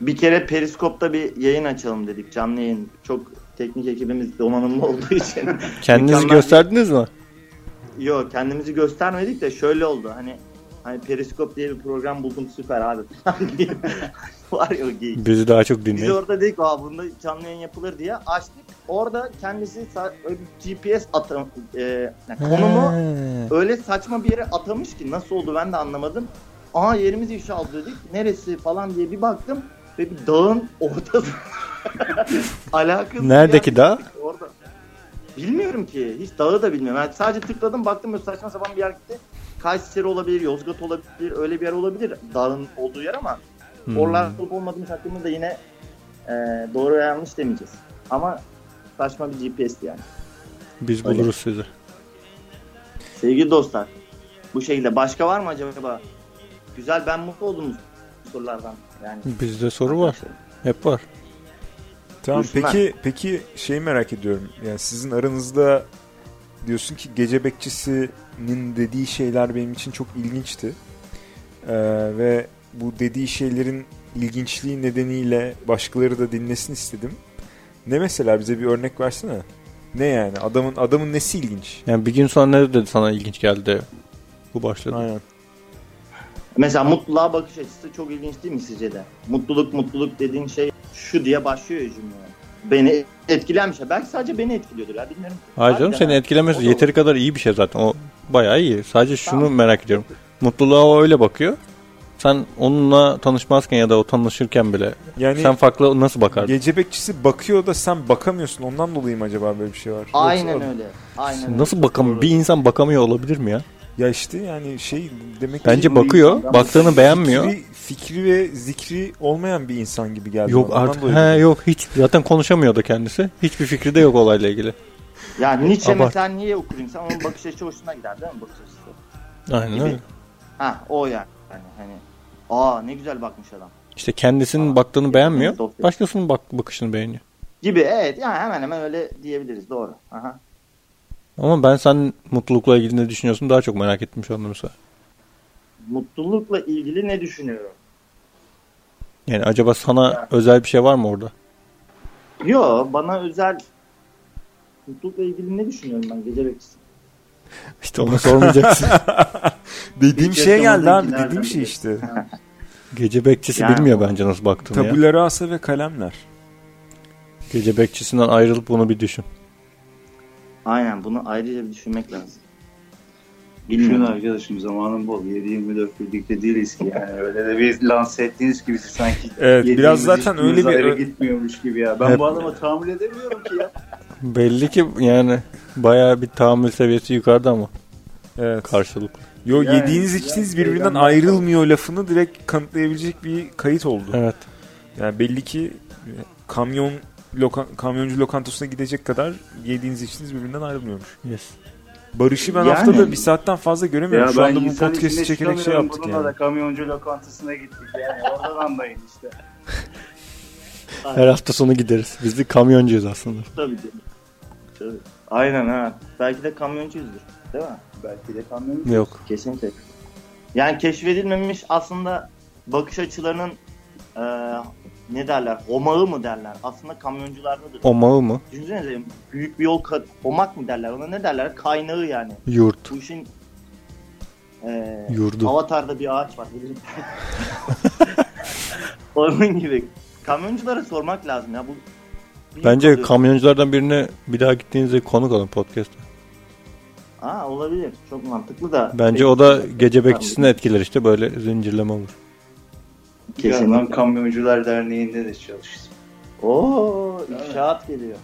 S1: Bir kere Periskop'ta bir yayın açalım dedik. Canlı yayın. Çok teknik ekibimiz donanımlı olduğu
S2: <laughs>
S1: için.
S3: Kendinizi
S1: Mükemmel.
S3: gösterdiniz mi?
S1: Yok kendimizi göstermedik de şöyle oldu. Hani hani Periskop diye bir program buldum süper abi. <laughs> Var ya o geyik.
S3: Bizi daha çok
S1: Biz
S3: dinleyin.
S1: orada dedik aa bunda canlı yayın yapılır diye açtık. Orada kendisi sa- öyle bir GPS atam e, yani konumu
S3: He.
S1: öyle saçma bir yere atamış ki nasıl oldu ben de anlamadım. Aa yerimiz ifşa oldu dedik. Neresi falan diye bir baktım ve bir dağın <laughs> ortası. Alakasız. bir
S3: Neredeki
S1: yer.
S3: dağ?
S1: Orada. Bilmiyorum ki. Hiç dağı da bilmiyorum. Yani sadece tıkladım baktım böyle saçma sapan bir yer gitti. Kayseri olabilir, Yozgat olabilir, öyle bir yer olabilir dağın olduğu yer ama
S3: Hmm.
S1: Oralar olup olmadığımız hakkında da yine e, doğru veya yanlış demeyeceğiz. Ama saçma bir GPS'ti yani.
S3: Biz
S1: Öyle.
S3: buluruz sizi.
S1: Sevgili dostlar, bu şekilde başka var mı acaba? Güzel ben mutlu oldum bu sorulardan. Yani
S3: Bizde soru var. Hep var.
S2: Tamam
S1: Buyursunlar.
S2: peki peki şey merak ediyorum. Yani sizin aranızda diyorsun ki gece bekçisinin dediği şeyler benim için çok ilginçti. Ee, ve bu dediği şeylerin ilginçliği nedeniyle başkaları da dinlesin istedim. Ne mesela bize bir örnek versene. Ne yani adamın adamın nesi ilginç?
S3: Yani bir gün sonra ne dedi sana ilginç geldi? Bu başladı.
S2: Aynen.
S1: Mesela mutluluğa bakış açısı çok ilginç değil mi sizce de? Mutluluk mutluluk dediğin şey şu diye başlıyor ya cümle. Beni etkilenmiş. ya. Belki sadece beni etkiliyordur ya bilmiyorum.
S3: Hayır canım
S1: Harbiden
S3: seni
S1: ha.
S3: etkilemez.
S1: O da olur.
S3: Yeteri kadar iyi bir şey zaten. O bayağı iyi. Sadece şunu
S1: Tamam.
S3: merak ediyorum. Mutluluğa o öyle bakıyor. Sen onunla tanışmazken ya da o tanışırken bile
S2: Yani
S3: sen farklı nasıl bakardın?
S2: gece bekçisi bakıyor da sen bakamıyorsun. Ondan dolayı mı acaba böyle bir şey var? Yoksa-
S1: Aynen öyle. Aynen öyle.
S3: Nasıl bakam? Bir insan bakamıyor olabilir mi ya?
S2: Ya işte yani şey demek ki
S3: Bence
S1: bu
S3: bakıyor,
S1: insandan-
S3: baktığını beğenmiyor.
S2: fikri, fikri ve zikri olmayan bir insan gibi geldi.
S3: Yok
S2: bana. Ondan
S3: artık.
S2: dolayı
S3: He yok hiç zaten konuşamıyordu kendisi. Hiçbir fikri de yok olayla ilgili.
S1: Ya Nietzsche
S3: Abart.
S1: mesela niye okur insan? Onun bakış açısı hoşuna gider değil mi bakış açısı?
S3: Aynen öyle.
S1: Ha o yani. yani hani aa ne güzel bakmış adam.
S3: İşte kendisinin
S1: Aa,
S3: baktığını beğenmiyor.
S1: dosya.
S3: Başkasının bak bakışını beğeniyor.
S1: Gibi evet yani hemen hemen öyle diyebiliriz doğru. Aha.
S3: Ama ben sen mutlulukla ilgili ne düşünüyorsun daha çok merak ettim şu anda mesela.
S1: Mutlulukla ilgili ne düşünüyorum?
S3: Yani acaba sana
S1: Ya.
S3: özel bir şey var mı orada?
S1: Yo bana özel mutlulukla ilgili ne düşünüyorum ben gece bekçisi?
S3: İşte onu sormayacaksın.
S2: Dediğim
S1: Hiç
S2: şeye geldi
S1: yaşamadığın
S2: abi.
S1: iki nereden
S2: Dediğim şey
S1: biliyorsun?
S2: işte.
S3: Gece bekçisi
S1: Yani
S3: bilmiyor
S1: o-
S3: bence nasıl baktığını ya.
S2: Tabula rasa ve kalemler.
S3: Gece bekçisinden ayrılıp bunu bir düşün.
S1: Aynen bunu ayrıca bir düşünmek lazım.
S5: Düşün
S1: Bilmiyorum.
S5: arkadaşım zamanın bol. 7-24 birlikte değiliz ki yani. Öyle de bir lanse ettiğiniz gibi siz sanki.
S2: <laughs> Evet, biraz
S5: yediğimiz,
S2: zaten
S5: içtiğimiz
S2: öyle bir-
S5: ayrı gitmiyormuş gibi ya. Ben
S3: Hep-
S5: bu adama tahammül edemiyorum ki
S2: <laughs>
S5: ya.
S3: Belli ki yani bayağı bir tahammül seviyesi yukarıda ama
S2: Evet.
S3: karşılıklı.
S2: Yo
S5: Yani-
S2: yediğiniz içtiğiniz
S5: Yani
S2: birbirinden
S5: şeyden-
S2: ayrılmıyor lafını direkt kanıtlayabilecek bir kayıt oldu.
S3: Evet.
S2: Yani belli ki e, kamyon loka- kamyoncu lokantasına gidecek kadar yediğiniz içtiğiniz birbirinden ayrılmıyormuş.
S3: Yes.
S2: Barış'ı ben
S1: Yani-
S2: haftada bir saatten fazla göremiyorum.
S5: Ya
S2: Şu
S5: ben
S2: anda bu
S5: insan
S2: podcast'i
S5: içine
S2: çekerek şey
S5: çıkamıyorum.
S2: yaptık
S5: Bununla
S2: yani.
S5: da kamyoncu lokantasına gittik yani. Oradan anlayın işte.
S3: Her hafta sonu gideriz. Biz bir kamyoncuyuz aslında.
S1: Tabii canım. Tabii. Aynen ha. Belki de kamyoncuyuzdur. Değil mi?
S5: Belki de kamyoncu.
S3: Yok.
S1: Kesinlikle. Yani keşfedilmemiş aslında bakış açılarının eee, ne derler? Homağı mı derler? Aslında kamyonculardadır.
S3: O mağı mı?
S1: Düşünsenize büyük bir yol kat, homak mı derler? Ona ne derler? Kaynağı yani.
S3: Yurt.
S1: Bu işin eee
S3: Yurdu.
S1: avatarda bir ağaç
S3: <laughs>
S1: var. Onun gibi. Kamyonculara sormak lazım ya. Bu
S3: Bence
S1: Bilmiyorum.
S3: kamyonculardan birine bir daha gittiğinizde konuk alın podcast'a.
S1: Aa, olabilir. Çok mantıklı da.
S3: Bence o da gece bekçisini etkiler işte böyle zincirleme olur.
S5: Kesin.
S1: Kesinlikle.
S5: Kamyoncular Derneği'nde de çalıştım.
S1: Oo, inşaat geliyor.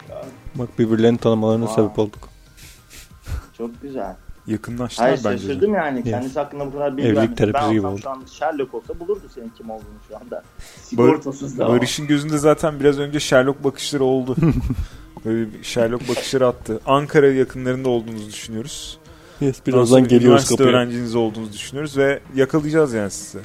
S3: Bak birbirlerini tanımalarına
S1: Aa.
S3: sebep olduk.
S1: Çok güzel.
S2: Yakınlaştılar
S1: Hayır
S2: bence. de.
S1: şaşırdım yani.
S3: Ya.
S1: Kendisi hakkında bu kadar bilgi
S3: Evlilik
S1: vermedi.
S3: terapisi
S1: ben
S3: gibi
S1: olsam
S3: oldu.
S1: Şu an Sherlock olsa bulurdu senin kim olduğunu şu anda.
S5: Sigortasız da.
S2: Barış'ın gözünde zaten biraz önce Sherlock bakışları
S5: <laughs>
S2: oldu. Böyle bir Sherlock bakışları attı. Ankara yakınlarında olduğunuzu düşünüyoruz. Ondan
S3: Yes,
S2: sonra
S3: birazdan geliyoruz
S2: üniversite
S3: kapıya.
S2: öğrenciniz olduğunuzu düşünüyoruz ve yakalayacağız yani sizi.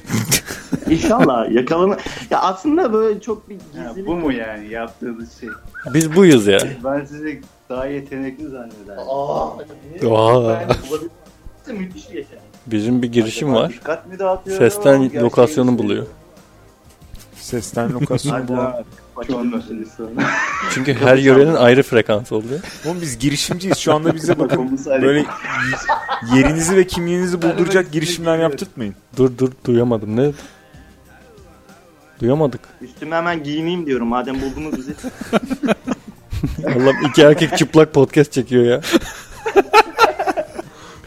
S1: İnşallah yakalanır. Ya aslında böyle çok bir
S5: Ha,
S1: gizlilik.
S5: bu mu yani yaptığınız şey?
S3: Biz buyuz ya.
S5: Ben sizi daha yetenekli zannederdim.
S1: Aa,
S3: Aa.
S1: Ben bulabilirim. Müthiş bir yetenek.
S3: Bizim bir girişim var.
S5: Dikkat mi dağıtıyorum?
S3: Sesten
S5: Gerçeği
S3: lokasyonu
S5: mi
S3: buluyor.
S1: şey
S2: Sesten lokasyon
S5: söylüyorum?
S2: bulan.
S5: Hadi abi, Şu an <laughs> meselesi.
S3: Çünkü her yörenin ayrı frekansı oluyor.
S2: Oğlum biz girişimciyiz. Şu anda
S5: <laughs>
S2: bize bakın
S5: Kafamız ayrı.
S2: böyle y- yerinizi ve kimliğinizi bulduracak girişimler yaptırtmayın.
S3: Dur dur duyamadım ne? Duyamadık.
S1: Üstüme hemen giyineyim diyorum madem buldunuz bizi.
S3: Allah'ım iki erkek çıplak podcast çekiyor ya.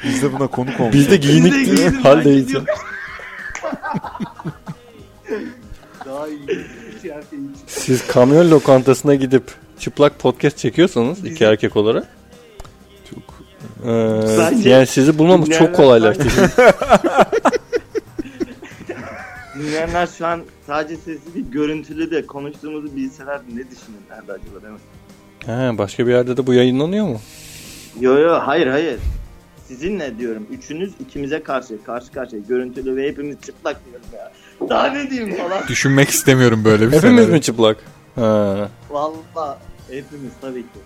S2: Biz de buna konuk olmuş.
S3: Biz de giyinik
S5: Biz de giyindik,
S3: haldeyiz. ya.
S5: fark Daha iyi. Hiç erkeğin hiç-
S3: Siz kamyon lokantasına gidip çıplak podcast çekiyorsanız iki erkek olarak çok e,
S1: Bence-
S3: yani sizi bulmamız çok
S1: Dinleyenler-
S3: kolaylaştı.
S1: Dinleyenler şu an sadece sesli değil görüntülü de konuştuğumuzu bilseler ne düşünürlerdi acaba değil mi?
S3: ha, başka bir yerde de bu yayınlanıyor mu?
S1: Yo yo hayır hayır. Sizinle diyorum. Üçünüz ikimize karşı karşı karşıya görüntülü ve hepimiz çıplak diyorum ya. Daha ne diyeyim falan.
S4: Düşünmek istemiyorum böyle bir
S3: Hepimiz
S4: senaryo.
S3: mi çıplak? Ha.
S1: <laughs> Valla hepimiz tabii ki.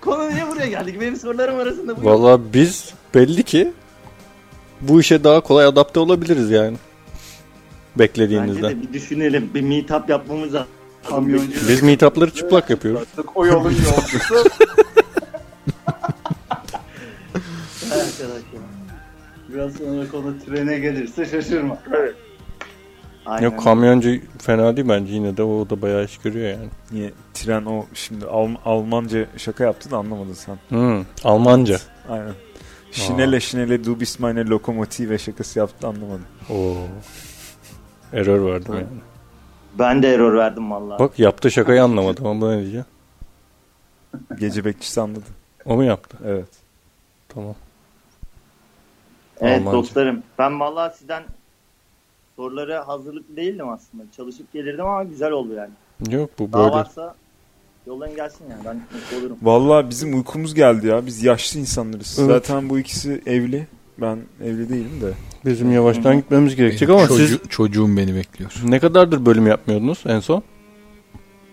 S1: Konu niye buraya geldik? Benim sorularım arasında bu. yok.
S3: Valla biz belli ki bu işe daha kolay adapte olabiliriz yani.
S1: Bence
S3: Beklediğinizden.
S1: de bir düşünelim. Bir meetup yapmamız lazım.
S5: Kamyoncu.
S3: Biz meetupları çıplak yapıyoruz.
S5: O yolun
S1: <laughs>
S5: yolcusu.
S1: Arkadaşlar.
S5: Biraz sonra konu trene gelirse şaşırma.
S1: Aynen.
S3: Yok kamyoncu fena değil bence yine de o da bayağı iş görüyor yani.
S2: Niye tren o şimdi Alm- Almanca şaka yaptı da anlamadın sen.
S3: Hmm, Almanca.
S2: Aynen. Şinele şinele du bist meine Lokomotive şakası yaptı anlamadım.
S3: Oo. Error verdim yani.
S1: Ben de error verdim vallahi.
S3: Bak yaptığı şakayı anlamadım ama ne diyeceğim.
S2: Gece bekçisi anladı.
S3: O mu yaptı?
S2: Evet.
S3: Tamam.
S1: evet
S3: Almanca.
S1: dostlarım. Ben vallahi sizden sorulara hazırlıklı değildim aslında. Çalışıp gelirdim ama güzel oldu yani.
S3: Yok bu
S1: Daha
S3: böyle.
S1: varsa yoldan gelsin yani. Ben mutlu olurum.
S2: Vallahi bizim uykumuz geldi ya. Biz yaşlı insanlarız.
S3: Evet.
S2: Zaten bu ikisi evli. Ben evli değilim de.
S3: Bizim yavaştan gitmemiz gerekecek ama
S4: Çocuğu-
S3: siz
S4: Çocuğum beni bekliyor.
S3: ne kadardır bölüm yapmıyordunuz en son?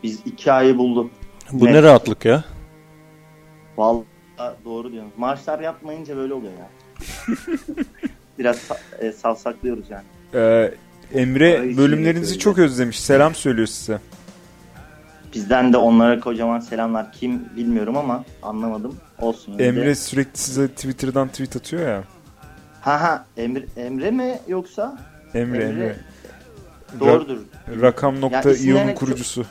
S1: Biz iki ayı bulduk.
S3: Bu
S1: Ne?
S3: ne rahatlık ya.
S1: Vallahi doğru diyorsun. Maaşlar yapmayınca böyle oluyor
S2: <laughs>
S1: ya. Biraz sa- e, savsaklıyoruz yani.
S2: Ee, Emre
S5: Ay,
S2: bölümlerinizi
S5: şey
S2: çok özlemiş. Selam söylüyor size.
S1: Bizden de onlara kocaman selamlar. Kim bilmiyorum ama anlamadım. Olsun. yine de.
S2: Emre sürekli size Twitter'dan tweet atıyor ya.
S1: Ha ha. Emre, Emre mi yoksa?
S2: Emre
S1: Emre.
S2: Emre.
S1: Doğrudur.
S2: Ra- rakam nokta
S1: Ya isimlerine
S2: iyonun
S1: çok-
S2: kurucusu.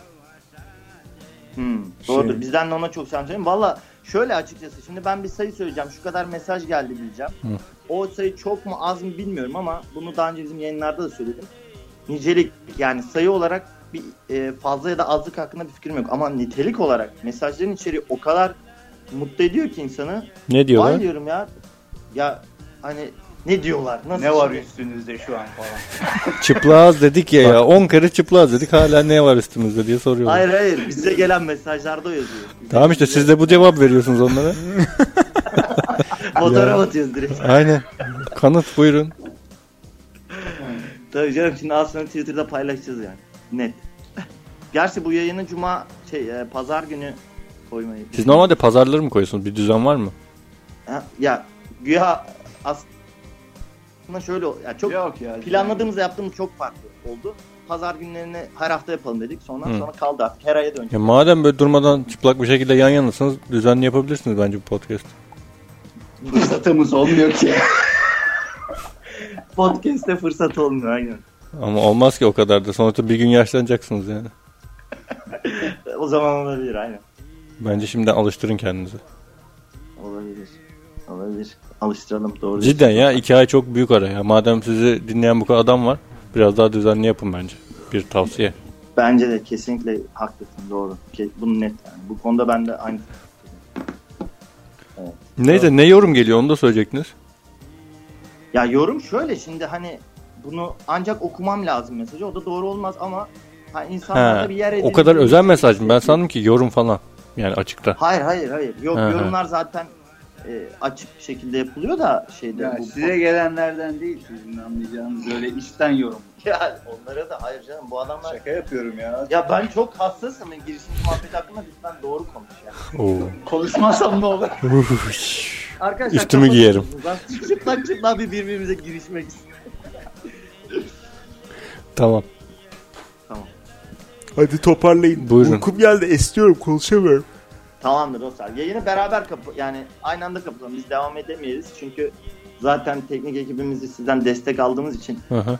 S1: Hmm, doğrudur.
S2: Şey-
S1: Bizden de ona çok selam söyleyeyim. Valla şöyle açıkçası şimdi ben bir sayı söyleyeceğim. Şu kadar mesaj geldi diyeceğim. O sayı çok mu az mı bilmiyorum ama bunu daha önce bizim yayınlarda da söyledim. Nicelik yani sayı olarak bir e, fazla ya da azlık hakkında bir fikrim yok. Ama nitelik olarak mesajların içeriği o kadar mutlu ediyor ki insanı.
S3: Ne
S1: Vay
S3: diyorlar?
S1: diyorum ya. Ya hani ne diyorlar? Nasıl
S6: Ne var
S1: şimdi?
S6: üstünüzde şu an falan.
S3: Çıplağız dedik ya ya. 10 kere çıplağız dedik hala ne var üstümüzde diye soruyorlar.
S1: Hayır hayır bize gelen mesajlarda o yazıyor.
S3: Tamam işte siz de bu cevap
S1: <laughs>
S3: veriyorsunuz onlara.
S1: Fotoğraf
S3: Ya.
S1: atıyoruz direkt.
S3: Aynen. Kanıt buyurun.
S1: Tabii canım şimdi az sonra Twitter'da paylaşacağız yani. Net. Gerçi bu yayını cuma şey e, pazar günü koymayı.
S3: Siz normalde pazarları mı koyuyorsunuz? Bir düzen var mı?
S1: Ha, ya güya aslında şöyle o- ya çok
S6: Yok ya.
S1: planladığımızda yaptığımız çok farklı oldu. Pazar günlerini her hafta yapalım dedik. Sonra
S3: Hı.
S1: sonra kaldı artık her aya
S3: <laughs>
S1: dönecek.
S3: Ya madem böyle durmadan çıplak bir şekilde yan yanasınız düzenli yapabilirsiniz bence bu podcast.
S5: Fırsatımız olmuyor ki.
S1: <laughs> Podcast'te fırsat olmuyor aynen.
S3: Ama olmaz ki o kadar da. Sonuçta bir gün yaşlanacaksınız yani.
S1: O zaman olabilir aynen.
S3: Bence şimdiden alıştırın kendinizi.
S1: Olabilir. Olabilir. Alıştıralım doğru.
S3: Cidden ya iki ay çok büyük ara ya. Madem sizi dinleyen bu kadar adam var biraz daha düzenli yapın bence. Bir tavsiye.
S1: Bence de kesinlikle haklısın doğru. Ke- Bunu net yani. Bu konuda ben de aynı
S3: Neyse ne yorum geliyor onu da söyleyecektiniz.
S1: Ya yorum şöyle şimdi hani bunu ancak okumam lazım mesajı. O da doğru olmaz ama ha, insanlarda
S3: Ha,
S1: bir yer
S3: o
S1: edinmek-
S3: kadar özel mesaj mı? Ben sandım ki yorum falan. Yani açıkta.
S1: Hayır hayır hayır. Yok
S3: Ha, ha.
S1: yorumlar zaten e, açık bir şekilde yapılıyor da şeyde
S5: Ya
S1: bu.
S5: size gelenlerden değil sizin anlayacağınız öyle içten yorum.
S1: Ya onlara da hayır canım bu adamlar.
S5: Şaka yapıyorum ya.
S1: Ya ben çok hassasım yani girişimci muhabbeti hakkında lütfen doğru konuş ya.
S3: Oo.
S5: Konuşmazsam ne olur?
S1: Arkadaşlar
S3: Üstümü
S1: kapat-
S3: giyerim.
S1: Ben çıplak çıplak bir birbirimize girişmek istiyorum.
S3: tamam.
S2: Hadi toparlayın.
S3: Buyurun.
S2: Uykum geldi. Esniyorum. Konuşamıyorum.
S1: Tamamdır dostlar. Yayını beraber kapı yani aynı anda kapatalım. Biz devam edemeyiz çünkü zaten teknik ekibimizi sizden destek aldığımız için
S3: Hı hı.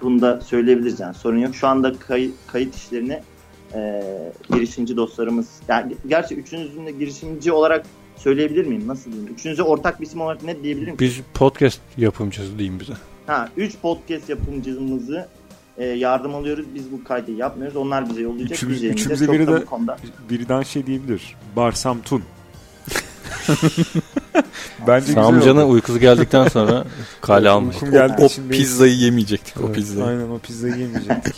S1: bunu da söyleyebiliriz yani sorun yok. Şu anda kay- kayıt işlerini e, girişimci dostlarımız, yani gerçi üçünüzün de girişimci olarak söyleyebilir miyim? Nasıl diyeyim? Üçünüze ortak bir isim olarak ne diyebilirim? ki?
S3: Biz podcast yapımcısı diyeyim bize.
S1: Ha, üç podcast yapımcımızı e, yardım alıyoruz. Biz bu kaydı yapmıyoruz. Onlar bize yollayacak.
S2: Üçümüz-
S1: Biz yayınlayacağız.
S2: üçümüze
S1: Çok
S2: biri
S1: da bu
S2: de-
S1: konuda.
S2: Birden şey diyebilir. Barsam <laughs> Tun. Bence güzel
S3: Samcan'a
S2: oldu.
S3: uykusu geldikten sonra kale almayın.
S2: Uykum geldi.
S4: O
S2: şimdi-
S4: pizzayı yemeyecektik o
S3: Evet,
S4: pizzayı.
S2: Aynen o pizzayı yemeyecektik.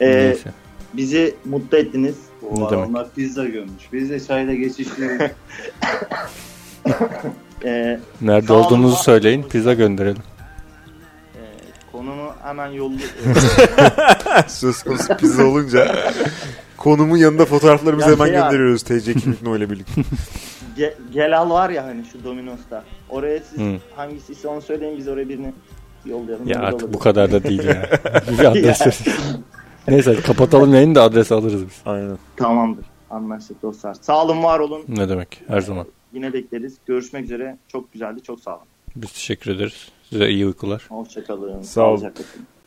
S1: E,
S3: Neyse.
S1: bizi mutlu ettiniz.
S5: O
S3: Ne demek?
S5: adamlar pizza gömmüş. Biz de çayla geçiştiriyoruz.
S3: <laughs>
S1: E,
S3: Nerede
S1: Sağ olun,
S3: olduğunuzu
S1: var-
S3: söyleyin pizza gönderelim.
S1: e, konumu hemen yollu.
S2: <laughs>
S1: <laughs>
S2: Söz konusu pizza olunca konumun yanında fotoğraflarımızı
S1: Ya
S2: hemen
S1: şey ya-
S2: gönderiyoruz TC kimlikle ile birlikte.
S1: Ge- Gelal var ya hani şu Domino's'ta. Oraya siz
S3: Hı.
S1: hangisi ise onu söyleyin biz oraya birini yollayalım.
S3: Ya
S1: Burada
S3: artık bu
S1: olabilir.
S3: kadar da değil ya. Bir adres verin. Neyse kapatalım yayını da adres alırız biz.
S2: Aynen.
S1: Tamamdır. Anlaştık dostlar. Sağ olun, var olun.
S3: Ne demek her zaman.
S1: Yine bekleriz. Görüşmek üzere. Çok güzeldi. Çok sağ olun.
S3: Biz teşekkür ederiz. Size iyi uykular.
S1: Hoşçakalın.
S2: Sağ olun.
S1: Sağlıcakla kalın.